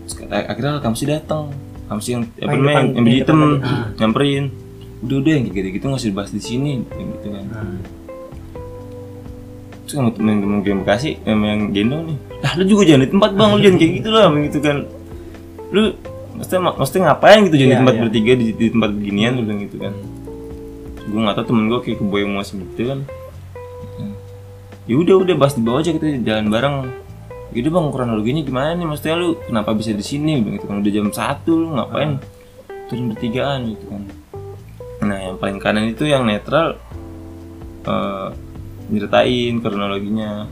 Terus kata- akhirnya kamu sih datang kamu sih yang
Yang
apa namanya
depan-
yang, yang biji
yang
hitam
depan
nyamperin udah udah yang kayak gitu gitu nggak usah dibahas di sini yang gitu kan terus sama temen-temen gue yang bekasi yang, yang gendong nih lah lu juga jangan di tempat bang lu jangan kayak gitu lah gitu kan lu maksudnya maksudnya ngapain gitu jangan di
Iya,
tempat
iya.
bertiga di, di tempat beginian lu bilang gitu kan gue nggak tahu temen gue kayak keboy emosi gitu kan ya udah udah bahas di bawah aja kita jalan bareng gitu bang kronologinya gimana nih maksudnya lu kenapa bisa di sini Bilang gitu kan udah jam satu lu ngapain
Ah.
turun bertigaan gitu kan nah yang paling kanan itu yang netral eh nyeritain kronologinya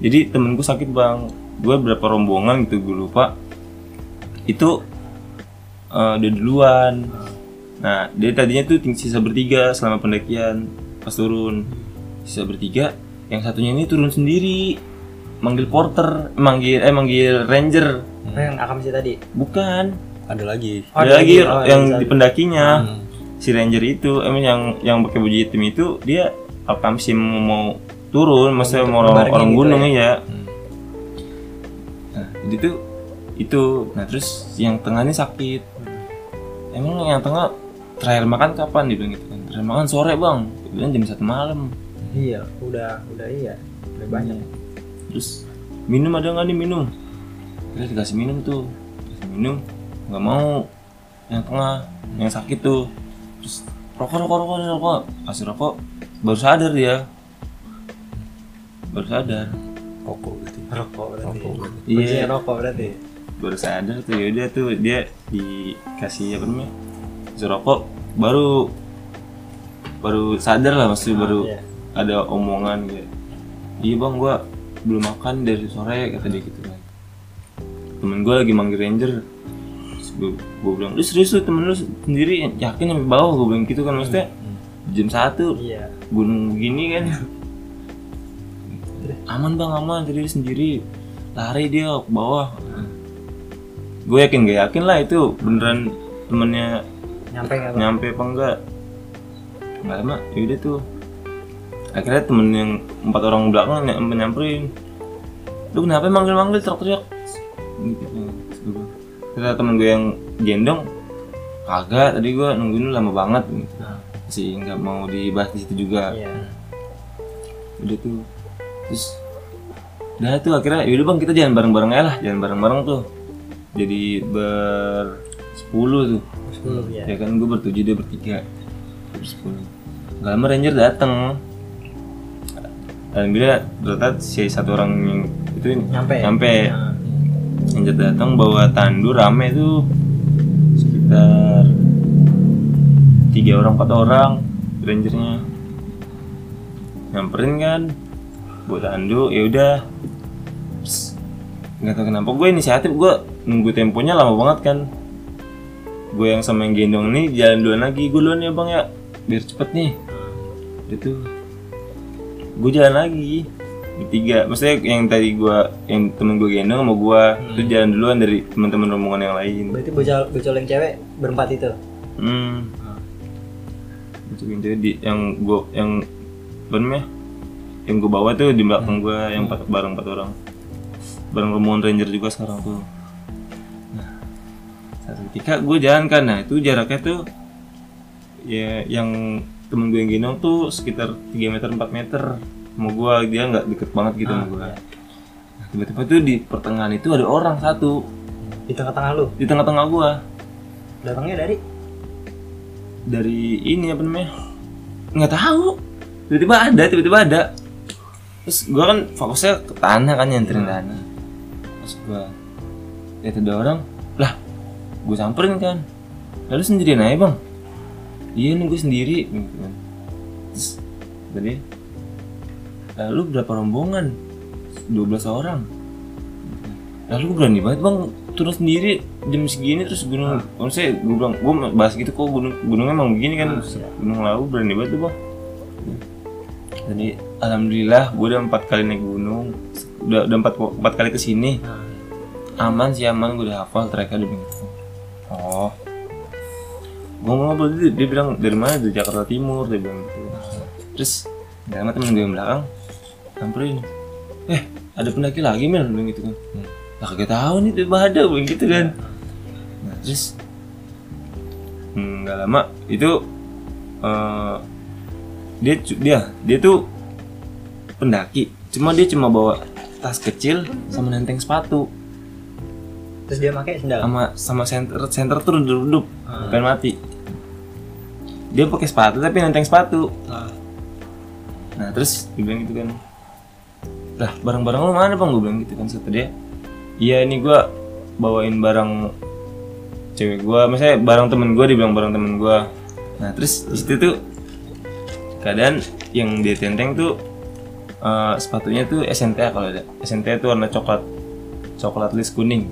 jadi temenku sakit bang gue berapa rombongan gitu gue lupa itu eh udah duluan nah dia tadinya tuh ting- sisa bertiga selama pendakian pas turun sisa bertiga yang satunya ini turun sendiri manggil porter manggil eh manggil ranger
Oh, yang akam sih tadi
bukan
ada lagi
Oh,
ada lagi ah, Hmm.
oh,
yang
satu.
di pendakinya si ranger itu emang yang yang pakai baju hitam itu dia alkam sih mau, mau turun maksudnya mau orang,
ngebarengin
orang
gitu
gunung ya, nah jadi tuh itu nah terus yang tengah ini sakit emang yang tengah terakhir makan kapan dibilang gitu kan terakhir makan sore bang bilang jam satu malam
iya udah udah iya udah banyak
terus minum ada nggak nih minum terus dikasih minum tuh dikasih minum nggak mau yang tengah yang sakit tuh terus rokok rokok rokok rokok kasih rokok baru sadar dia baru sadar
koko gitu
Rokok berarti.
Iya.
Kuncinya rokok berarti.
baru sadar tuh ya udah tuh dia dikasih apa namanya kasih rokok baru baru sadar lah maksudnya baru
iya.
ada omongan gitu iya bang gua belum makan dari sore kata dia gitu kan temen gua lagi manggil ranger Terus gua, gua bilang lu serius lu temen lu sendiri yakin sampai bawah gua bilang gitu kan maksudnya jam satu
Hmm, Iya.
gunung begini kan aman bang aman tadi dia sendiri lari dia ke bawah gue yakin gak yakin lah itu beneran temennya
Nyampe nggak bang?
nyampe apa enggak nggak lama yaudah tuh akhirnya temen yang empat orang belakang ny- nyamperin lu kenapa manggil manggil teriak teriak ternyata temen gue yang gendong kagak tadi gue nungguin lu lama banget sih nggak mau dibahas di situ juga
Iya.
udah tuh terus udah tuh akhirnya yaudah bang kita jalan bareng bareng aja lah jalan bareng bareng tuh jadi ber sepuluh tuh
Sepuluh ya.
ya kan gue bertujuh dia bertiga ber sepuluh nggak lama ranger datang alhamdulillah ternyata si satu orang yang itu
Nyampe.
nyampe
Nah,
ranger datang bawa tandu rame tuh sekitar tiga orang empat orang rangernya nyamperin kan buat tandu ya udah Terus, nggak tahu kenapa gue inisiatif gue nunggu temponya lama banget kan gue yang sama yang gendong nih jalan duluan lagi gue duluan ya bang ya biar cepet nih itu gue jalan lagi bertiga maksudnya yang tadi gue yang temen gue gendong sama gue itu jalan duluan dari teman-teman rombongan yang lain
Berarti bocah bocah yang cewek berempat itu.
Hmm. Itu yang jadi yang gua yang apa namanya? Yang gua bawa tuh di belakang gua yang empat bareng empat orang. Bareng rombongan ranger juga sekarang tuh. Nah, satu ketika gua jalan kan, nah itu jaraknya tuh ya yang temen gue yang gendong tuh sekitar 3 meter 4 meter mau gua dia nggak deket banget gitu sama gua. Nah, tiba-tiba tuh di pertengahan itu ada orang satu
Di tengah-tengah lu.
di tengah-tengah gua
Datangnya dari
dari ini apa namanya nggak tahu tiba-tiba ada tiba-tiba ada terus gua kan fokusnya ke tanah kan nyenterin tanah terus gua lihat ada orang lah gua samperin kan lalu sendirian aja bang iya nih gua sendiri gitu kan terus tadi lalu berapa rombongan 12 orang lalu gue berani banget bang turun sendiri jam segini terus gunung maksudnya gue bilang gue bahas gitu kok gunung gunung emang begini kan gunung lawu berani banget tuh bang jadi alhamdulillah gue udah empat kali naik gunung udah udah empat empat kali kesini aman sih aman gue udah hafal tracknya udah begitu oh gue ngobrol dia, dia bilang dari mana dari Jakarta Timur dia bilang gitu terus gak lama temen gue yang belakang samperin eh ada pendaki lagi men bilang gitu kan lah kagak tahu nih tiba ada gue bilang gitu kan nah, terus hmm, nggak lama itu eh, dia cu- dia dia tuh pendaki cuma dia cuma bawa tas kecil sama nenteng sepatu
terus dia pakai sendal.
sama sama center center tuh duduk pengen mati dia pakai sepatu tapi nenteng sepatu nah terus dia bilang gitu kan lah barang-barang lu mana bang gue bilang gitu kan kata dia iya ini gua bawain barang cewek gua misalnya barang temen gua dibilang barang temen gua nah terus di situ tuh keadaan yang dia tenteng tuh eh, sepatunya tuh SNTA kalau ada SNTA tuh warna coklat coklat list kuning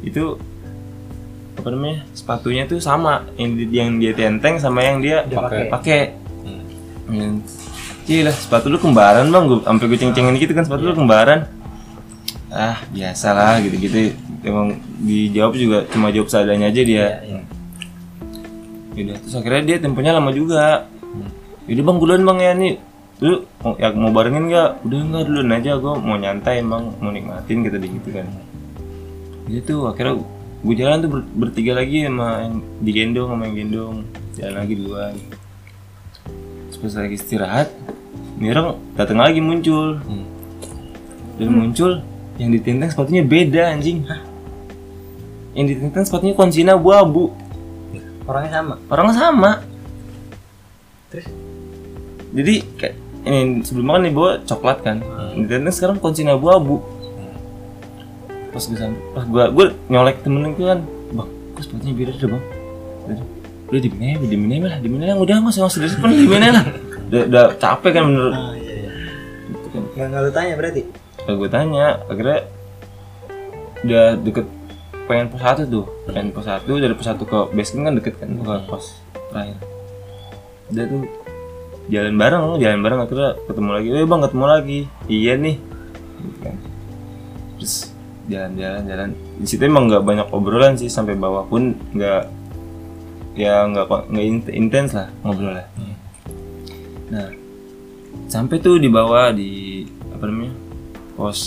itu apa namanya sepatunya tuh sama yang di- yang dia tenteng sama yang dia
Dia pakai.
pakai pakai Hmm. Cih lah sepatu lu kembaran bang gue sampai gue ceng-cengin gitu kan sepatu lu kembaran ah biasalah gitu-gitu emang dijawab juga cuma jawab seadanya aja dia Yaudah, terus akhirnya dia temponya lama juga. Yaudah bang, duluan bang ya nih. Lu mau, ya, mau barengin nggak? Udah nggak duluan aja, gue mau nyantai emang, mau nikmatin kata dia gitu kan. Gitu, akhirnya gue jalan tuh ber- bertiga lagi sama yang digendong sama yang gendong. Jalan lagi duluan. Terus pas lagi istirahat, nih orang datang lagi muncul. Dan muncul, yang ditenteng sepatunya beda anjing. yang ditentukan sepatunya konsina abu-abu
orangnya sama
orangnya sama
Terus?
jadi kayak ini sebelumnya kan dibawa coklat kan dan sekarang konsina abu-abu pas gue sampai pas gue gue nyolek temen gue kan bang kok sepatunya beda deh bang Udah, udah diminai diminai lah diminai lah udah mas mas udah depan diminai lah udah, udah capek kan menurut
ah iya iya
itu kan
nggak nggak lu tanya berarti
Nah, gue tanya akhirnya udah deket pengen pos satu tuh pengen pos satu dari pos satu ke basecamp kan deket kan ke pos terakhir udah tuh jalan bareng loh jalan bareng akhirnya ketemu lagi eh bang ketemu lagi iya nih Gitu kan. terus jalan-jalan jalan di situ emang nggak banyak obrolan sih sampai bawah pun nggak ya nggak ko- nggak int- intens lah ngobrolnya nah sampai tuh di bawah di apa namanya pos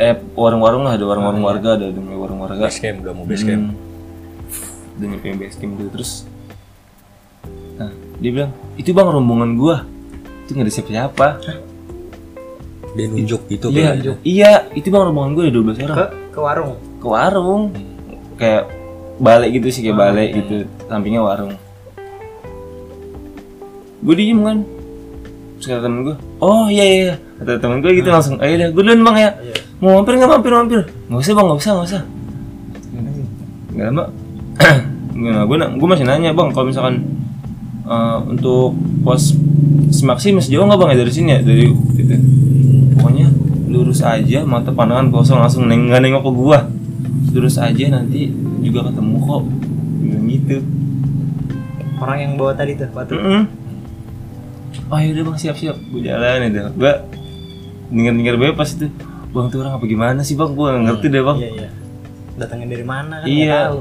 eh warung-warung lah ada warung-warung warga ada ada warung warga
base camp udah mau base camp
Hmm. Udah nyampe base camp dulu terus nah dia bilang itu bang rombongan gua itu nggak ada siapa-siapa
dia nunjuk gitu
Hmm. iya
kan
iya itu bang rombongan gua ada 12 orang
ke ke warung
ke warung kayak balik gitu sih kayak balik gitu sampingnya warung gue diem kan terus kata temen gue oh iya iya iya. kata temen gue gitu langsung ayo dah gue duluan bang ya mau mampir nggak mampir mampir nggak usah bang nggak usah nggak usah nggak lama nah, gue gue masih nanya bang kalau misalkan eh, untuk pos simaksi masih jauh nggak bang ya dari sini ya dari gitu pokoknya lurus aja mata pandangan kosong langsung neng nggak nengok ke gua lurus aja nanti juga ketemu kok bilang gitu
orang yang bawa tadi tuh batu
Mm-mm. oh yaudah bang siap siap gua jalan ya, itu gua denger denger bebas itu bang tuh orang apa gimana sih bang gua nggak ngerti deh bang
iya iya datangnya dari mana kan nggak
Iya.
tahu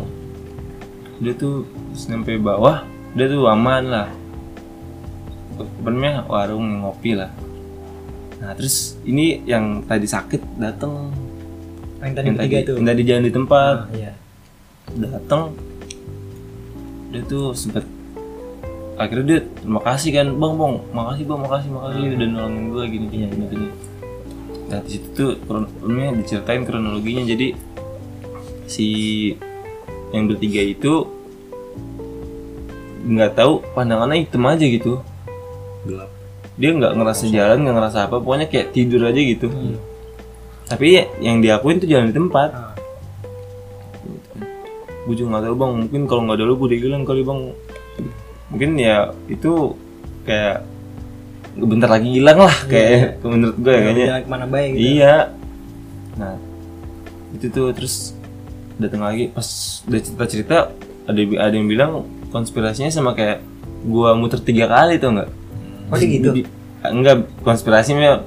dia tuh sampai bawah dia tuh aman lah sebenarnya warung ngopi lah nah terus ini yang tadi sakit datang
yang tadi
yang
bertiga
tadi
itu
yang tadi jalan di tempat
Ah, iya
datang dia tuh sempet akhirnya dia terima kasih kan bang bang makasih bang makasih makasih udah nolongin gue gini gini gini gini nah di situ tuh kronologinya diceritain kronologinya jadi si yang bertiga itu nggak tahu pandangannya hitam aja gitu
gelap
dia nggak ngerasa jalan nggak ngerasa apa pokoknya kayak tidur aja gitu tapi ya, yang diakuin tuh jalan di tempat
Ah.
gue juga nggak tahu bang mungkin kalau nggak ada lu gue digilang kali bang mungkin ya itu kayak bentar lagi hilang lah kayak menurut gue ya, kayaknya
jalan kemana baik Iya, gitu
iya nah itu tuh terus datang lagi pas udah cerita cerita ada ada yang bilang konspirasinya sama kayak gua muter tiga kali tuh nggak
Oh, dia gitu?
Di- enggak konspirasinya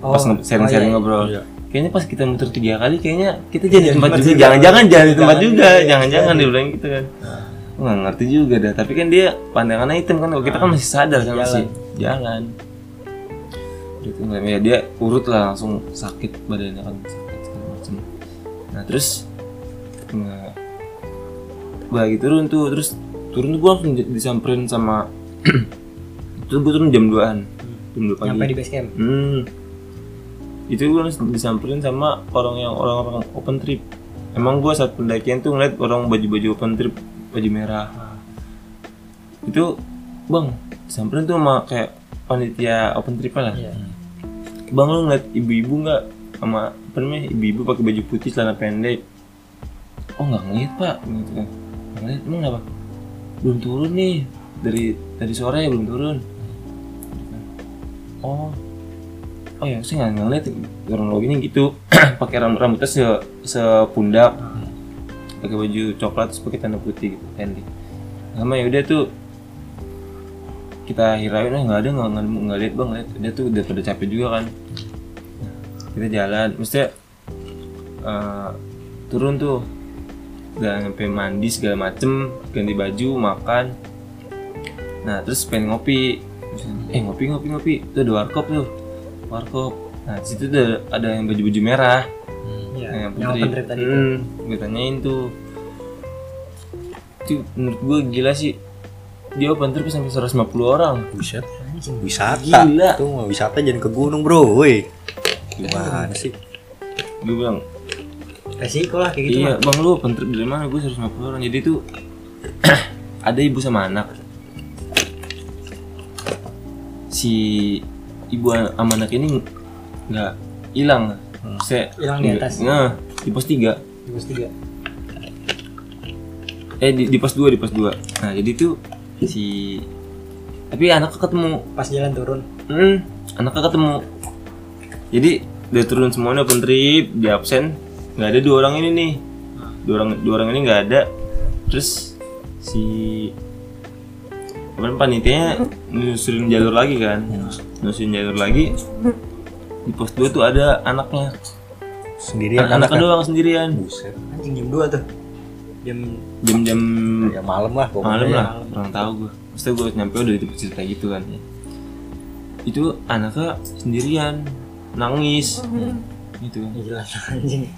pas
Oh,
nge- sharing-sharing
oh, iya,
ngobrol
iya.
kayaknya pas kita muter tiga kali kayaknya kita jadi tempat
iya.
juga jangan-jangan jangan di tempat juga jangan-jangan dia bilang gitu kan
Iya.
Gua nggak ngerti juga dah tapi kan dia pandangannya hitam kan kalau kita
Iya.
kan masih sadar kan masih jalan Udah tuh, nggak- ya dia urut lah langsung sakit badannya kan sakit segala macem nah terus nah, gue lagi turun tuh terus turun tuh gue langsung di- disamperin sama itu gue turun jam 2an jam 2 pagi
sampai di base camp
Hmm. Itu gue disamperin sama orang yang orang-orang open trip. Emang gue saat pendakian tuh ngeliat orang baju-baju open trip, baju merah. Itu bang, disamperin tuh sama kayak panitia open trip lah.
Iya.
Bang lu ngeliat ibu-ibu nggak sama apa namanya ibu-ibu pakai baju putih celana pendek? Oh nggak ngeliat pak, gitu kan? Nggak ngeliat, emang kenapa? Belum turun nih dari dari sore belum turun. Oh, oh ya saya nggak ngeliat kronologinya gitu pakai rambut rambutnya se sepundak pakai baju coklat terus pakai tanda putih gitu pendek lama ya udah tuh kita hirauin "Ah, nggak ada nggak nggak nggak lihat bang lihat dia tuh udah pada capek juga kan kita jalan maksudnya eh, turun tuh udah sampai mandi segala macem ganti baju makan nah terus pengen ngopi Terus, eh ngopi ngopi ngopi tuh ada warkop tuh warkop nah di situ tuh ada- ada yang baju-baju merah
iya
Nah,
yang open trip tadi itu
Hmm, gue tanyain tuh itu menurut gue gila sih dia open trip sampai 150 orang
Buset. wisata
Gila.
tuh mau wisata jangan ke gunung bro woi gimana sih
gue bilang
resiko lah kayak gitu
iya
mah.
bang lu pentrip dari mana gue 150 orang jadi tuh ada ibu sama anak si ibu a- sama anak ini nggak hilang saya
Hmm. Hilang di atas.
nah di pos 3
di pos tiga
eh di, di pos 2 di pos 2 nah jadi tuh si tapi anaknya ketemu
pas jalan turun
Hmm, anaknya ketemu. Jadi udah turun semuanya open trip, di absen. Nggak ada dua orang ini nih. Dua orang dua orang ini nggak ada. Terus si kemarin panitianya nyusurin jalur lagi kan. Nyusurin jalur lagi. Di pos 2 tuh ada anaknya.
sendirian
Anak- anaknya
anaknya.
doang sendirian.
buset
anjing jam dua tuh jam
Jam-jam
ya malam lah pokoknya
malam lah kurang tahu gue maksudnya gue nyampe udah di tempat cerita gitu kan ya. itu anaknya sendirian nangis gitu kan
ya jelas anjing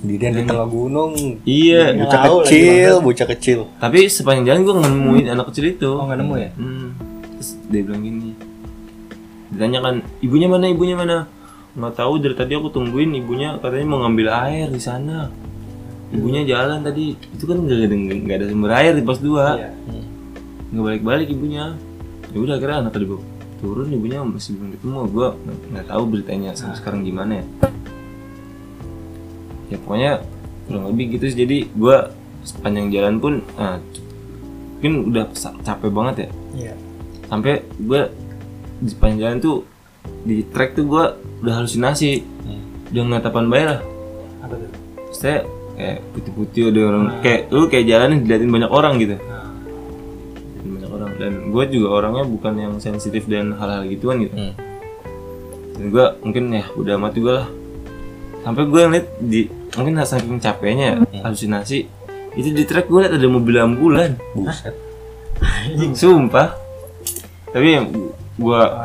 sendirian
Hmm.
di tengah gunung
iya
bocah
Lau lagi
kecil bocah kecil
tapi sepanjang jalan gue nemuin anak kecil itu
oh nggak nemu ya
hmm. terus dia bilang gini ditanya kan ibunya mana ibunya mana nggak tahu dari tadi aku tungguin ibunya katanya mau ngambil air di sana
Iya.
ibunya jalan tadi itu kan nggak ada nggak ada sumber air di pos dua
Iya.
nggak balik-balik ibunya ya udah akhirnya anak kedua turun ibunya masih belum ketemu gue nggak tahu beritanya sampai sekarang gimana ya ya pokoknya kurang lebih gitu sih jadi gue sepanjang jalan pun nah, mungkin udah sa- capek banget ya
iya
sampai gue di sepanjang jalan tuh di trek tuh gue udah halusinasi udah ngeliat apaan bayar lah
apa tuh
saya kayak putih-putih ada orang kayak lu kayak jalanin diliatin banyak orang gitu
nah,
Diliatin banyak orang dan gue juga orangnya bukan yang sensitif dan hal-hal gituan gitu
Hmm.
dan gue mungkin ya udah mati gue lah sampai gue ngeliat di mungkin saking capeknya ya,
Hmm.
halusinasi itu di trek gue liat ada mobil ambulan
buset
sumpah tapi yang gua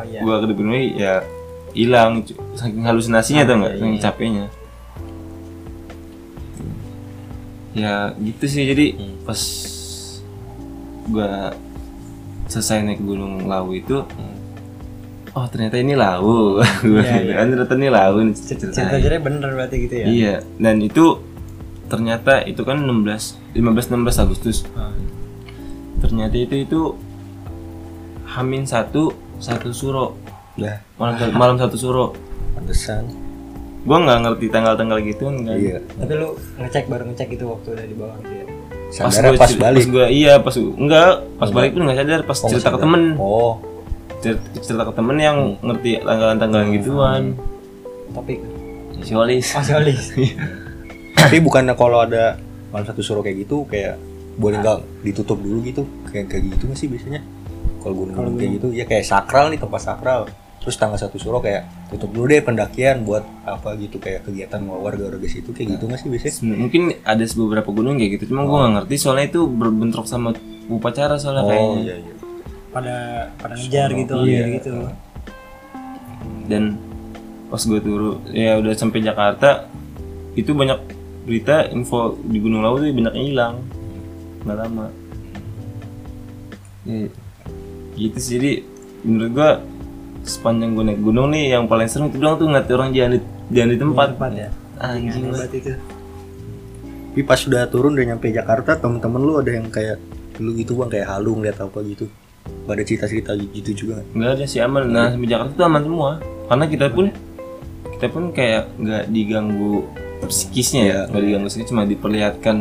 Oh, iya.
gua ke depan lagi, ya hilang cu- saking
Ah,
halusinasinya
iya,
tau nggak saking capeknya ya gitu sih jadi
Hmm.
pas gua selesai naik gunung lawu itu oh ternyata ini lawu gua
Iya, iya.
kan ternyata ini lawu nih
cerita
ceritanya
cerita bener berarti gitu ya
iya dan itu ternyata itu kan 16 15 16 Agustus
Ah.
ternyata itu itu Hamin satu satu suro
lah
malam malam satu suro
pantesan
gua nggak ngerti tanggal-tanggal gitu nggak
iya
tapi lu ngecek baru ngecek gitu waktu udah di bawah gitu ya
sadar
gua
pas
cer-
balik
pas gua iya pas enggak pas balik pun nggak sadar pas
Oh,
cerita ke
sadar.
temen
oh
Cer- cerita ke temen yang ngerti tanggalan-tanggalan gituan
topik
si Olis
oh si Olis
tapi bukan kalau ada malam satu suruh kayak gitu kayak boleh nggak ditutup dulu gitu kayak kayak gitu nggak sih biasanya kalau gunung-gunung kayak gitu ya kayak sakral nih tempat sakral terus tanggal satu suruh kayak tutup dulu deh pendakian buat apa gitu kayak kegiatan warga warga situ kayak gitu nggak sih biasanya
Sebenarnya mungkin ada beberapa gunung kayak gitu cuma gua nggak ngerti soalnya itu berbentrok sama upacara soalnya Nah, kayaknya
iya
pada pada ngejar gitu
Iya.
gitu
dan pas gue turun ya udah sampai Jakarta itu banyak berita info di Gunung Lawu tuh banyak yang hilang nggak lama ya, gitu sih jadi menurut gue sepanjang gue naik gunung nih yang paling serem itu doang tuh ngeliat orang jalan di, jalan di tempat
tempat ya
anjing
Aneh
lah.
banget itu
tapi pas sudah turun udah nyampe Jakarta temen-temen lu ada yang kayak lu gitu bang kayak halu ngeliat apa gitu Gak ada cerita-cerita gitu juga nggak?
nggak ada sih aman nah sampai Jakarta tuh aman semua karena kita pun kita pun kayak nggak diganggu psikisnya ya nggak diganggu psikis cuma diperlihatkan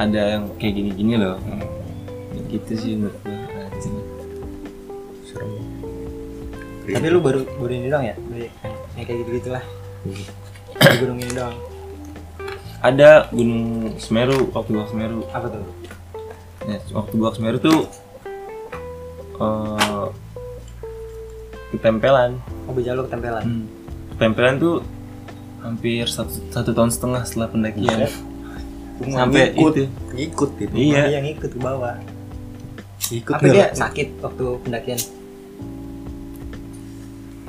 ada yang kayak gini-gini loh Ya gitu sih menurut gue anjing.
serem
tapi lu baru baru ini doang ya baru yang kayak gitu gitulah di gunung ini doang
ada gunung Semeru waktu gua ke Semeru
apa tuh
ya, waktu gua ke Semeru tuh eh ketempelan
oh beja lu ketempelan
Hmm. Ketempelan tuh hampir satu, satu tahun setengah setelah pendakian sampai
ikut
itu ya?
ikut gitu
Iya.
Ada yang ikut ke bawah
ikut ya.
apa
nggak
dia
lu?
sakit waktu pendakian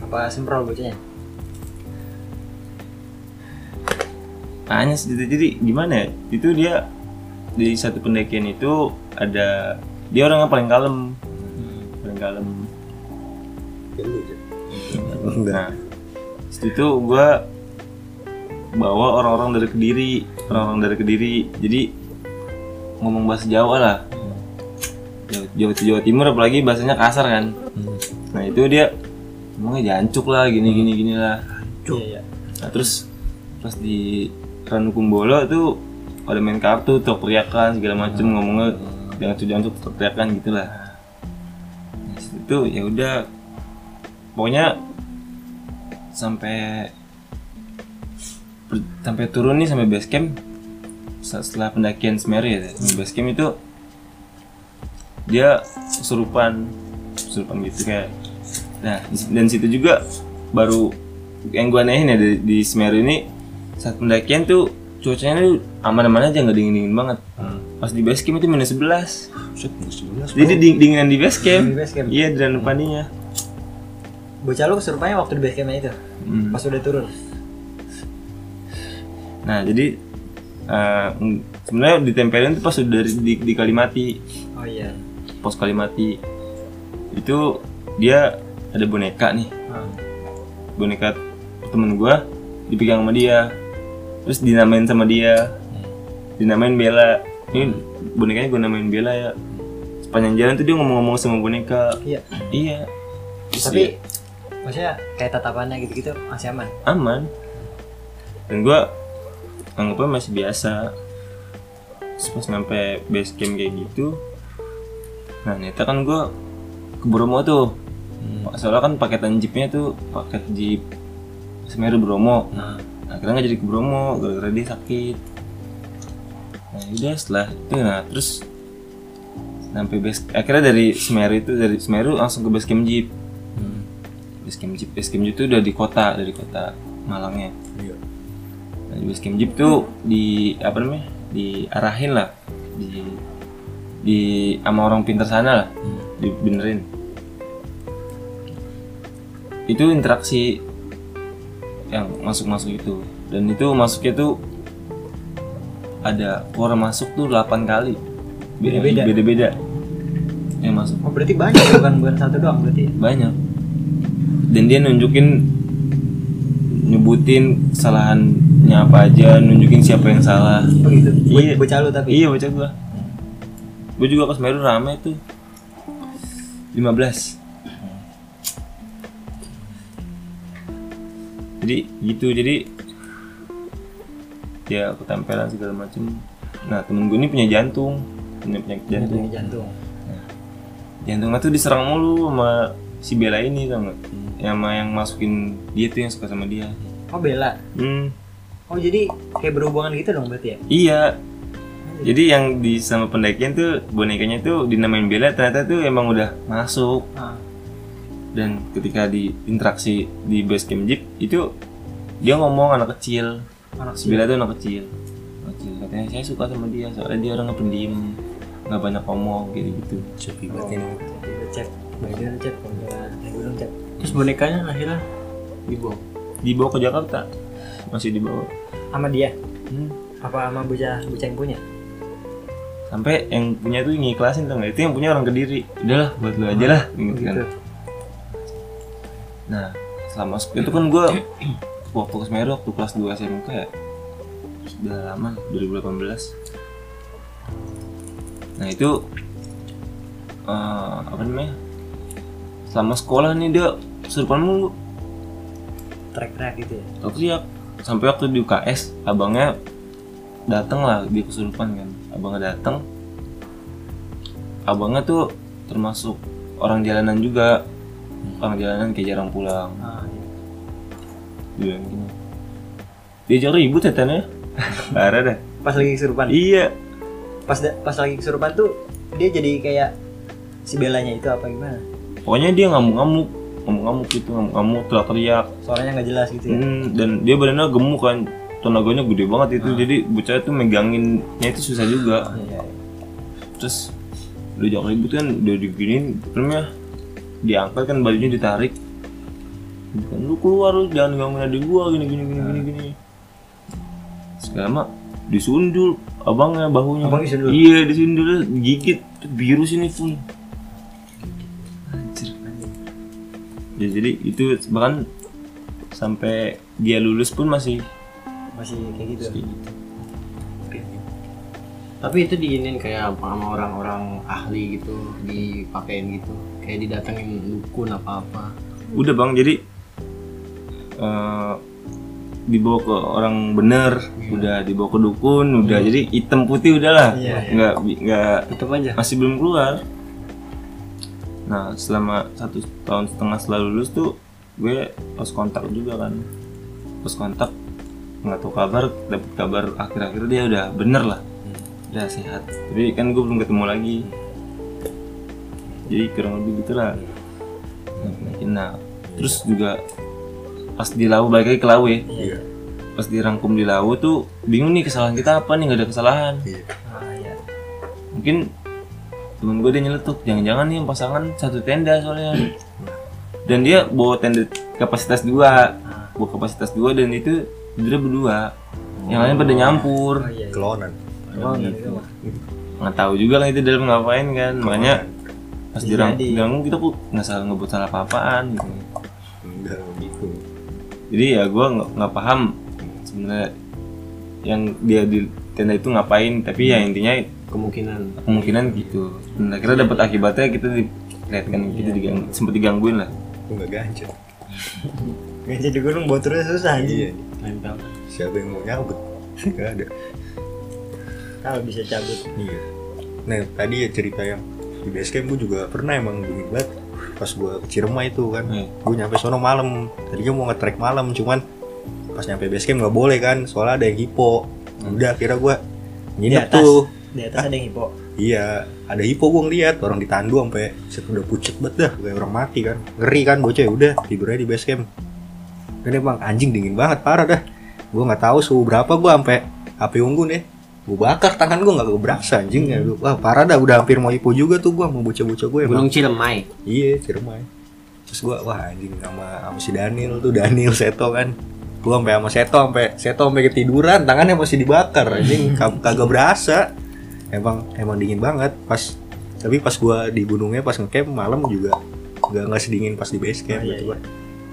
apa semprol bocahnya
Tanya sih, jadi, jadi gimana ya? Itu dia di satu pendakian itu ada dia orang yang paling kalem, paling kalem.
Ya, lu aja. enggak
Nah, situ gue bawa orang-orang dari kediri orang-orang dari kediri jadi ngomong bahasa Jawa lah Jawa, Jawa, Jawa Timur apalagi bahasanya kasar kan nah itu dia ngomongnya jancuk lah gini gini gini lah
Iya, iya.
Nah, terus pas di Ranukumbolo tuh ada main kartu, teriak-teriakan segala macem ngomongnya jangan tuh jangan tuh teriakan gitulah. Nah, itu ya udah pokoknya sampai per- sampai turun nih sampai base camp se- setelah pendakian Semeru ya sampai base camp itu dia kesurupan kesurupan gitu kayak nah di- dan situ juga baru yang gua anehin ya di, di Semeru ini saat pendakian tuh cuacanya tuh aman-aman aja nggak dingin-dingin banget
Hmm.
pas di base camp itu minus 11 jadi ding- dinginan di base camp
Di base camp.
iya dan paninya
Bocah lu kesurupannya waktu di base campnya itu.
Hmm.
Pas udah turun.
nah jadi eh, ng- sebenarnya ditempelin tuh pas udah dari- di, di Kalimati
Oh iya.
pos Kalimati itu dia ada boneka nih
Hmm.
boneka temen gua dipegang sama dia terus dinamain sama dia dinamain Bella ini bonekanya gua namain Bella ya sepanjang jalan tuh dia ngomong-ngomong sama boneka
Iya.
iya Terus
Tapi maksudnya kayak tatapannya gitu-gitu masih aman.
ya, aman dan gua anggapnya masih biasa terus pas sampai base camp kayak gitu nah ternyata kan gua ke Bromo tuh soalnya kan paketan jeepnya tuh paket jeep Semeru Bromo Nah, akhirnya nggak jadi ke Bromo gara-gara dia sakit nah udah setelah itu nah terus sampai base akhirnya dari Semeru itu dari Semeru langsung ke base camp jeep base camp jeep base camp jeep itu udah di kota dari kota Malangnya
Iya.
nah, di base camp jeep tuh di apa namanya diarahin lah di di sama orang pintar sana lah dibenerin itu interaksi yang masuk-masuk itu dan itu masuknya tuh ada keluar masuk tuh 8 kali
Beda-beda.
beda-beda yang masuk
Oh berarti banyak bukan bukan satu doang berarti.
banyak dan dia nunjukin nyebutin kesalahannya apa aja nunjukin siapa yang salah
Oh gitu. Bo-
Iya.
Bocah lu tapi.
iya baca gua gua juga pas Meru rame tuh 15 jadi gitu jadi ya ketempelan segala macem nah temen gue ini punya jantung punya penyakit jantung
Jantung. jantung.
jantungnya tuh diserang mulu sama si Bella ini tau nggak Ya, sama yang masukin dia tuh yang suka sama dia
Oh bela.
hmm
Oh jadi kayak berhubungan gitu dong berarti ya?
iya jadi yang di sama pendakian tuh bonekanya tuh dinamain Bella ternyata tuh emang udah masuk
Ah.
dan ketika di interaksi di base camp jeep itu dia ngomong anak kecil
Anak
si Bella tuh anak kecil Anak kecil katanya saya suka sama dia soalnya dia orang pendiam nggak banyak ngomong gitu gitu
Sepi banget ini.
Jadi cek. Bagian cek. Bagian gunung cek.
Terus bonekanya akhirnya dibuang.
dibawa ke Jakarta masih dibawa
Sama dia.
Hmm.
Apa sama bocah bocah yang punya?
sampai yang punya tuh ngiklasin tuh nggak itu yang punya orang kediri udahlah buat lu aja lah gitu kan
Gitu.
nah selama sek- itu kan gue waktu ke Semeru waktu kelas 2 SMK ya sudah lama 2018 nah itu eh, apa namanya selama sekolah nih dia kesurupan mulu
Trek trek gitu ya.
teriak sampai waktu di UKS abangnya datang lah dia kesurupan kan abangnya datang abangnya tuh termasuk orang jalanan juga orang jalanan kayak jarang pulang
Ah, iya.
dia bilang gini dia jauh ribut ya tanah parah dah
Pas lagi kesurupan.
iya
Pas da- pas lagi kesurupan tuh dia jadi kayak si belanya itu apa gimana?
pokoknya dia ngamuk-ngamuk ngamuk-ngamuk gitu ngamuk-ngamuk teriak-teriak
Suaranya nggak jelas gitu ya.
Hmm, dan dia badannya gemuk kan tenaganya gede banget itu jadi bocah tuh meganginnya itu susah juga
Ah. Iya.
terus udah jangan ribut kan udah diginiin filmnya diangkat kan bajunya ditarik bukan lu keluar lu jangan gangguin adik gua gini gini gini gini gini segala mak disundul abangnya bahunya
Abang disundul?
iya disundul gigit biru sini pun anjir ya jadi itu bahkan sampai dia lulus pun masih
masih kayak
Terus
gitu
kayak gitu.
Tapi itu diinin kayak sama orang-orang ahli gitu, dipakein gitu. Kayak didatengin dukun apa-apa.
udah bang jadi eh, dibawa ke orang bener udah dibawa ke dukun udah jadi hitam putih udahlah
Iya, iya.
nggak bi- nggak
Itu aja.
masih belum keluar nah selama satu tahun setengah setelah lulus tuh gue pos kontak juga kan pos kontak nggak tahu kabar dapet kabar akhir-akhir dia udah bener lah udah sehat tapi kan gue belum ketemu lagi jadi kurang lebih gitu lah nah terus juga pas di lau balik lagi ke lau ya
Iya.
pas dirangkum di lau tuh bingung nih kesalahan kita apa nih nggak ada kesalahan
Iya.
ah iya
mungkin temen gue dia nyeletuk jangan-jangan nih pasangan satu tenda soalnya dan dia bawa tenda kapasitas
Ah.
dua bawa kapasitas dua dan itu tidurnya berdua yang lain pada nyampur
oh iya iya.
Kelonan.
Oh, gitu. nggak tahu juga lah itu dalam ngapain kan makanya pas
Bisa
dirang
jadi.
dirangkum kita kok nggak salah ngebuat salah apa-apaan gitu
Enggak gitu.
jadi ya gue nggak nggak paham sebenarnya yang dia di tenda itu ngapain tapi ya
Hmm.
intinya
Kemungkinan
kemungkinan gitu dan
Iya.
akhirnya dapat akibatnya kita dilihatkan kita diganggu, sempat digangguin lah
Lu enggak ganjel.
nggak jadi gunung bawa susah
Iya.
anjing
nempel.
Siapa yang mau nyabut? Enggak ada.
kalau bisa cabut
Iya. Nah tadi ya cerita yang di base camp gue juga pernah emang dingin banget pas gue ke Cirema itu kan
Hmm.
gue nyampe sono malam tadinya mau nge-trek malam cuman pas nyampe base camp nggak boleh kan soalnya ada yang hipo udah kira gue
di
nginep
atas
tuh
di atas ada yang hipo
iya ada hipo gue ngeliat orang ditandu sampai set udah pucet banget dah kayak orang mati kan ngeri kan bocah ya udah tidurnya di base camp dan emang anjing dingin banget parah dah gue nggak tahu suhu berapa gue sampai api unggun ya gue bakar tangan gue nggak keberasa anjing ya wah parah dah udah hampir mau hipo juga tuh gue mau bocah-bocah gue emang
Gunung Ciremai.
iya Ciremai terus gue wah anjing sama sama si Daniel tuh Daniel Seto kan gue sampai sama Seto sampai Seto sampai ketiduran tangannya masih dibakar anjing Ka- kagak berasa emang emang dingin banget pas tapi pas gue di gunungnya pas ngecamp malam juga nggak nggak sedingin pas di base camp
Ah, iya,
gue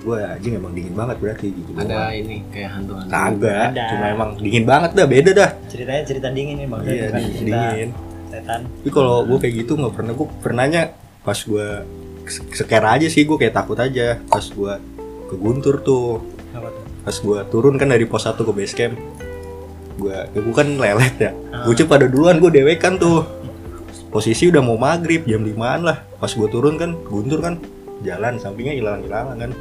gue anjing emang dingin banget berarti gitu
Ada ini kayak hantu-hantu.
kagak
Ada. Oh,
cuma emang dingin banget dah beda dah
ceritanya cerita dingin nih bang
iya
Bukan
dingin,
cerita
dingin.
setan
tapi kalau gue kayak gitu nggak pernah gue pernahnya pas gue seker aja sih gue kayak takut aja pas gue ke Guntur tuh
apa tuh
pas gue turun kan dari pos 1 ke base camp gue ya gue kan lelet ya
Ah.
gue pada duluan gue dewekan tuh posisi udah mau maghrib jam 5an lah pas gue turun kan Guntur kan jalan sampingnya hilang hilangan kan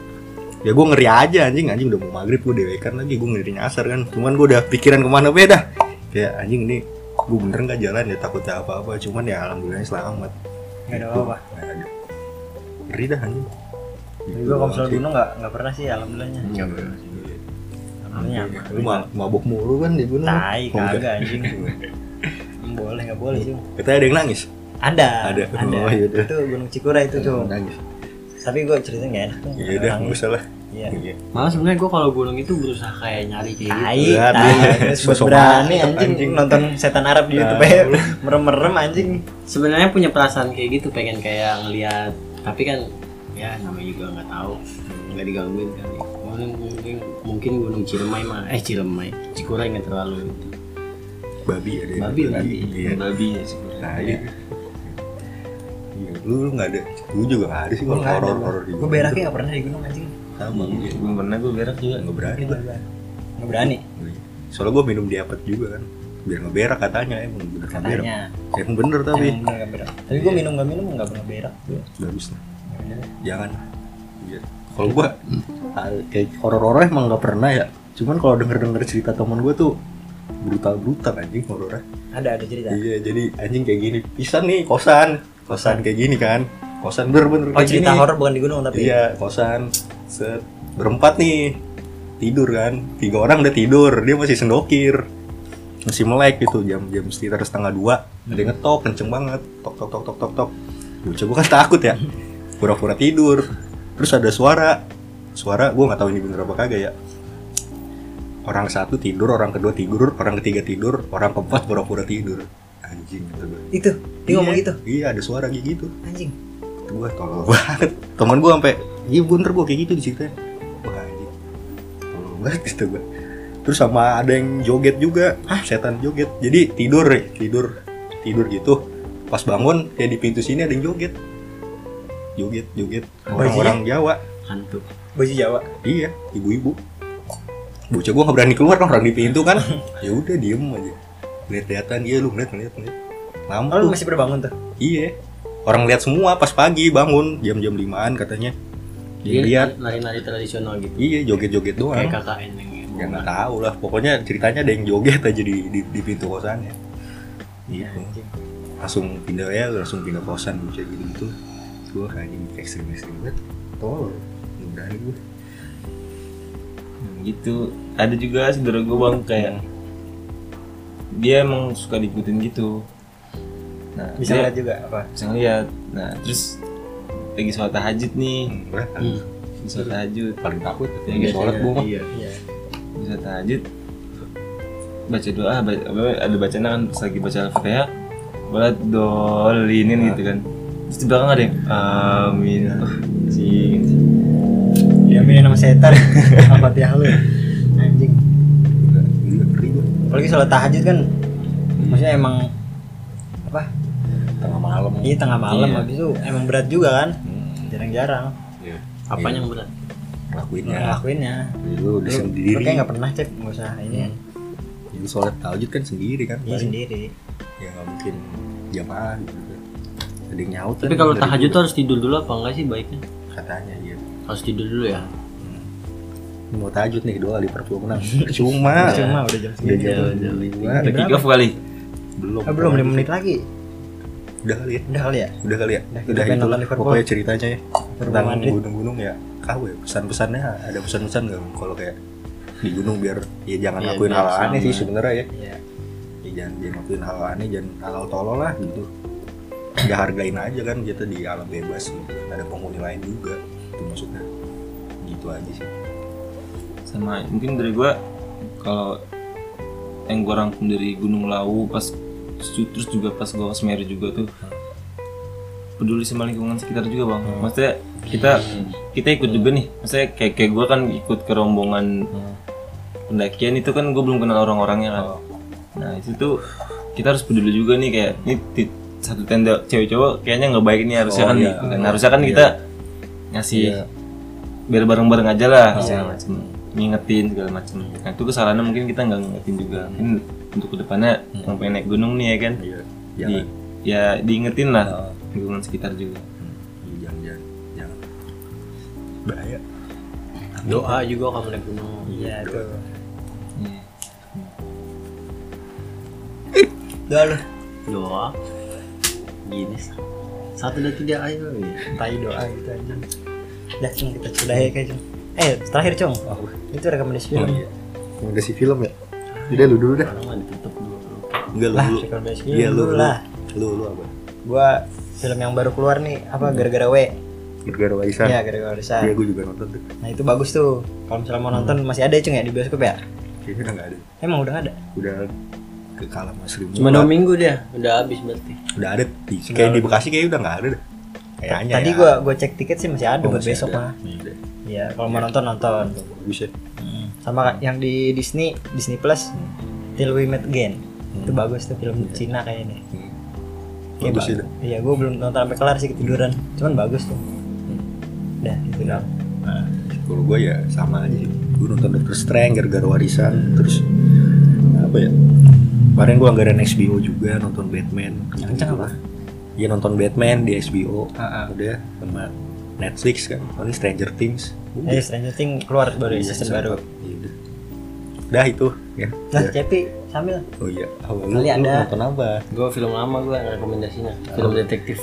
ya gue ngeri aja anjing anjing udah mau maghrib gue dewekan lagi gue ngeri nyasar kan cuman gue udah pikiran kemana beda kayak anjing ini gue bener nggak jalan ya takutnya apa apa cuman ya alhamdulillah selamat
nggak ada apa-apa
Nggak ada. ngeri dah anjing Gitu
tapi gue kalau misalnya gunung nggak nggak pernah sih alhamdulillahnya
Nggak pernah.
alhamdulillah nyaman.
Lu ma- mabok mulu kan di gunung
tai
Oh, enggak.
kagak anjing boleh nggak boleh sih
Katanya ada yang nangis.
ada
Ada.
ada
Oh, yaudah.
itu gunung cikura itu tuh
nangis.
tapi gue ceritanya nggak enak tuh
Ya udah,
Orang-
nggak usah lah.
iya
Iya.
Malah sebenarnya gue kalau gunung itu berusaha kayak nyari kayak gitu.
Tai,
Lihat,
tai,
iya.
terus
Sosok
berani
mantep,
anjing,
anjing.
nonton setan Arab di YouTube ya, merem-merem anjing.
Sebenarnya punya perasaan kayak gitu pengen kayak ngelihat, tapi kan ya namanya juga nggak tahu, nggak digangguin kali. Mungkin mungkin, mungkin gunung Ciremai mah eh Ciremai, Cikura nggak terlalu itu.
Babi ada. yang-
Babi, babi.
Iya.
babi ya sebenarnya
Tai. Iya, lu lu nggak ada. Lu juga nggak ada sih kalau horor horor di.
Gue beraknya nggak pernah di gunung anjing.
sama gue.
belum pernah gue berak juga
Nggak berani
Ini
gue.
nggak berani. Nggak berani.
Soalnya gue minum diapet juga kan. Biar ngeberak katanya emang bener nggak berak.
Katanya.
Emang bener tapi
Emang bener nggak berak. Tapi gue minum nggak minum nggak pernah berak.
Iya.
gue.
bagus lah.
Nggak bener.
Jangan. Iya. Kalau gue kayak horor-horor emang nggak pernah ya. Cuman kalau denger-denger cerita temen gue tuh brutal-brutal anjing horornya.
Ada ada cerita.
Iya, jadi anjing kayak gini. Pisan nih kosan, kosan kayak gini kan. Kosan bener-bener
Oh
kayak
cerita
gini.
horor bukan di gunung tapi.
Iya, kosan. Set berempat nih. Tidur kan. Tiga orang udah tidur, dia masih sendokir. Masih melek gitu jam-jam sekitar setengah dua. Ada yang ngetok kenceng banget. Tok tok tok tok tok tok. Bocah gua kan takut ya. Pura-pura tidur. Terus ada suara. Suara gua nggak tahu ini bener apa kagak ya. Orang satu tidur, orang kedua tidur, orang ketiga tidur, orang keempat pura-pura tidur. Anjing kata gua.
Itu dia
Iya,
ngomong gitu
Iya, ada suara kayak gitu
anjing.
gue tolol banget temen gue sampai iya bunter gue kayak gitu diceritain wah anjing tolol banget gitu gue terus sama ada yang joget juga ah setan joget jadi tidur ya tidur tidur gitu pas bangun ya di pintu sini ada yang joget joget joget orang-orang Jawa
hantu
Baju Jawa.
iya ibu-ibu bocah gua nggak berani keluar dong orang di pintu kan ya udah diem aja lihat-lihatan iya lu ngeliat ngeliat ngeliat lama
Oh, lu masih berbangun tuh.
Iya. Orang lihat semua pas pagi bangun jam-jam limaan katanya. Dia lihat.
nari-nari tradisional gitu
Iya, joget-joget doang.
Iya. kayak KKN yang
Ya nggak tahu lah. Pokoknya ceritanya ada yang joget aja di di, di pintu kosannya. Gitu. Langsung pindah ya, langsung pindah kosan gitu gitu. -gitu. Gue anjing ekstrim ekstrim banget. Tolol. Nggak berani gue.
Hmm, gitu ada juga saudara gue bang kayak dia emang suka diikutin gitu nah
Iya.
Bisa
dia
ngeliat juga apa?
bisa ngeliat nah terus lagi sholat tahajud nih
Hmm, berat.
lagi
Hmm.
sholat tahajud
Paling takut
Iya,
lagi sholat gue mah.
iya
Iya.
bisa tahajud baca doa ba- apa, ada bacaan kan pas lagi baca al-fatihah bola dolinin gitu kan terus di belakang ada yang amin Ah, anjing.
Iya, mainin nama setan. Apa tiah lu? Anjing.
Gila, Iya, ngeri gue.
Apalagi sholat tahajud kan maksudnya emang apa?
Hmm. Tengah malam.
Iya tengah malam
Iya.
habis itu emang berat juga kan?
Hmm,
Jarang-jarang
iya.
apa yang berat
Lakuinnya.
ngelakuinnya.
Lu udah
Iya. Lu,
Iya. sendiri. Hmm.
lu kayak nggak pernah cek nggak usah ini.
Jadi sholat tahajud kan sendiri kan.
Iya
paling.
sendiri.
ya nggak mungkin jamaah gitu kan ada yang nyaut
tapi
kan
kalau
dari
tahajud
dulu.
tuh harus tidur dulu apa enggak sih baiknya
katanya gitu
harus tidur dulu ya
Ini mau tahajud nih doa di perpuluhan cuma Iya,
Cuma udah jam
udah
Iya,
segini.
jam
Jauh, jauh.
lima
Udah
Berapa?
kick off kali
belum
Ah, belum 5 menit lagi.
udah kali ya
Udah kali ya?
udah kali ya
Udah, kita
udah
pengen
itu
nonton
lah
Liverpool.
pokoknya ceritanya ya tentang
Madrid.
gunung-gunung ya kau ya pesan-pesannya ada pesan-pesan nggak kalau kayak di gunung biar ya jangan
Iya,
lakuin
biar
hal aneh
sama.
sih sebenarnya ya.
Iya.
ya jangan jangan lakuin hal aneh jangan hal tolol lah gitu ya hargain aja kan kita di alam bebas gitu. ada penghuni lain juga itu maksudnya gitu aja sih
sama mungkin dari gua kalau yang gua rangkum dari Gunung Lawu pas terus juga pas gua ke Semeru juga tuh peduli sama lingkungan sekitar juga bang
Hmm.
maksudnya kita kita ikut juga nih maksudnya kayak kayak gua kan ikut ke rombongan
Hmm.
pendakian itu kan gue belum kenal orang-orangnya kan
Oh.
nah itu tuh kita harus peduli juga nih kayak ini ti- satu tenda cewek cowok kayaknya nggak baik nih harusnya
Oh,
kan
iya.
gitu kan. harusnya kan kita ngasih
Iya.
biar bareng-bareng aja lah segala macem ngingetin segala macem nah itu kesalahannya mungkin kita nggak ngingetin juga
Hmm.
mungkin untuk kedepannya yang pengen naik gunung nih ya kan
iya
di,
jangan
ya diingetin lah lingkungan sekitar juga
Iya, jangan jangan jangan bahaya
doa juga kalau naik gunung
Iya itu.
Iya.
Udah lu.
doa gini satu dan tiga ya. ayo
tai doa gitu aja Udah cung kita sudah ya kayak Cung. Eh terakhir cung Itu rekomendasi film
iya udah si film ya udah lu dulu dah
orang mah ditutup dulu
enggak lu
Lah
dulu
rekomendasi film
iya lu
dulu
lu
lah
lu lu apa
Gua film yang baru keluar nih Apa gara-gara W
gara-gara warisan
Iya
iya Hmm.
gara-gara Risa
gue juga nonton tuh
Nah itu bagus tuh Kalau misalnya mau nonton masih ada ya, cung ya di bioskop ya
kayaknya udah nggak ada
Emang udah nggak ada
udah ke kalah mas Sri
cuma
Mulat.
dua minggu dia udah habis berarti
udah ada di, kayak di Bekasi kayaknya udah nggak ada dah kayaknya
Tadi
ya.
gua gua cek tiket sih masih ada
Oh,
buat
masih
besok
ada.
mah
Iya.
Iya kalau mau nonton nonton
bagus ya
Sama kayak yang di Disney Disney Plus Till We Meet Again Itu bagus tuh film Cina kayaknya
Hmm.
Iya,
bagus ya.
Pak.
sih dah.
Iya, gue belum nonton sampai kelar sih ketiduran. Cuman bagus tuh.
Hmm.
Udah, gitu dah.
kalau gue Nah, ya sama aja gue nonton Doctor Strange gara-gara warisan terus apa ya kemarin gue anggaran HBO juga nonton Batman
Kenceng apa? Ah,
Iya nonton Batman di HBO udah sama Netflix kan paling Stranger Things
Eh, Stranger Things keluar baru ya, season baru.
Iya, udah. udah itu ya
Nah,
Udah.
Cepi, Samil.
oh iya awal
Kali ada.
nonton apa
gue film lama gue rekomendasinya film detektif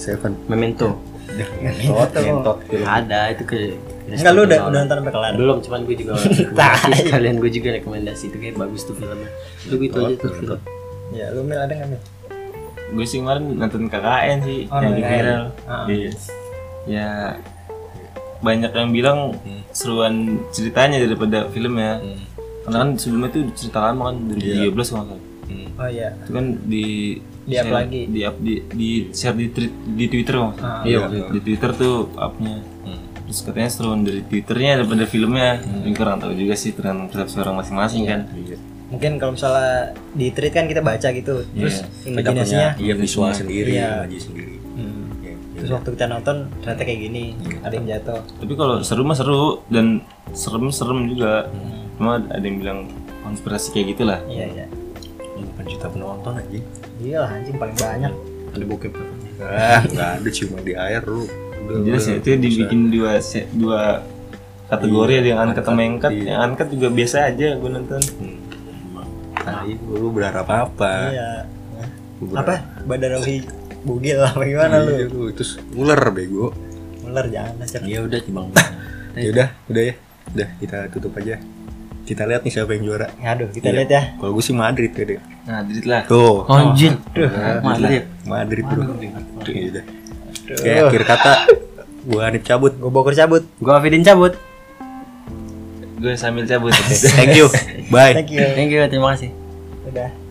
Seven
Memento
udah ngentot ngentot film
ada itu ke
Enggak, lu udah, udah nonton sampai kelar.
belum cuman gue juga rekomendasi sekalian gue juga rekomendasi itu kayak bagus tuh filmnya lu gitu aja tuh film
Ya, lu Mil ada nggak, Mil?
gue sih kemarin nonton KKN sih
Oh,
yang di
nonton KKN.
viral
Ah.
Iya. ya banyak yang bilang seruan ceritanya daripada filmnya karena kan sebelumnya itu cerita lama kan 2013 kalau nggak salah
Hmm.
Oh iya.
itu kan di
Di-up
share-
lagi.
di up di, di share di, tri- di Twitter kalau nggak salah.
Ah,
iya
iya.
di Twitter tuh upnya
Hmm.
terus katanya seruan dari twitternya daripada filmnya tapi kurang tahu juga sih tren persepsi orang masing-masing kan
mungkin kalau misalnya di tweet kan kita baca gitu
Iya.
terus
kita punya
imajinasinya
iya visual sendiri
Iya.
imaji sendiri Iya, iya.
terus waktu kita nonton ternyata kayak gini ada yang jatuh
tapi kalau seru mah seru dan serem serem juga cuma ada yang bilang konspirasi kayak gitulah
iya iya
Delapan juta penonton aja
iya lah anjing paling banyak
ada bokep apa?
ah nggak ada cuma di air lu Udah,
jelas ya
udah.
itu dibikin dua se- dua kategori ada yang angkat sama angkat
Iya.
yang angkat juga biasa aja gue nonton
Hmm. tai lu berharap apa
iya
Lu berharap-
apa badarawi bugil lah bagaimana
Iya,
lu
lu terus ular bego
ular jangan lah Cep.
Iya,
ya udah cibang
Iya.
ya udah udah ya udah kita tutup aja kita lihat nih siapa yang juara
aduh kita
Iya.
lihat ya
kalau gue sih Madrid ya deh
nah jadi lah
tuh
Oh, iya.
anjir
Madrid Madrid
Madrid.
bro Iya, udah.
Aduh.
Oke, akhir kata gua Hanif cabut
gue boker cabut
gua Afidin cabut
gue sambil cabut
thank you bye
thank you Iya.
thank you terima kasih
udah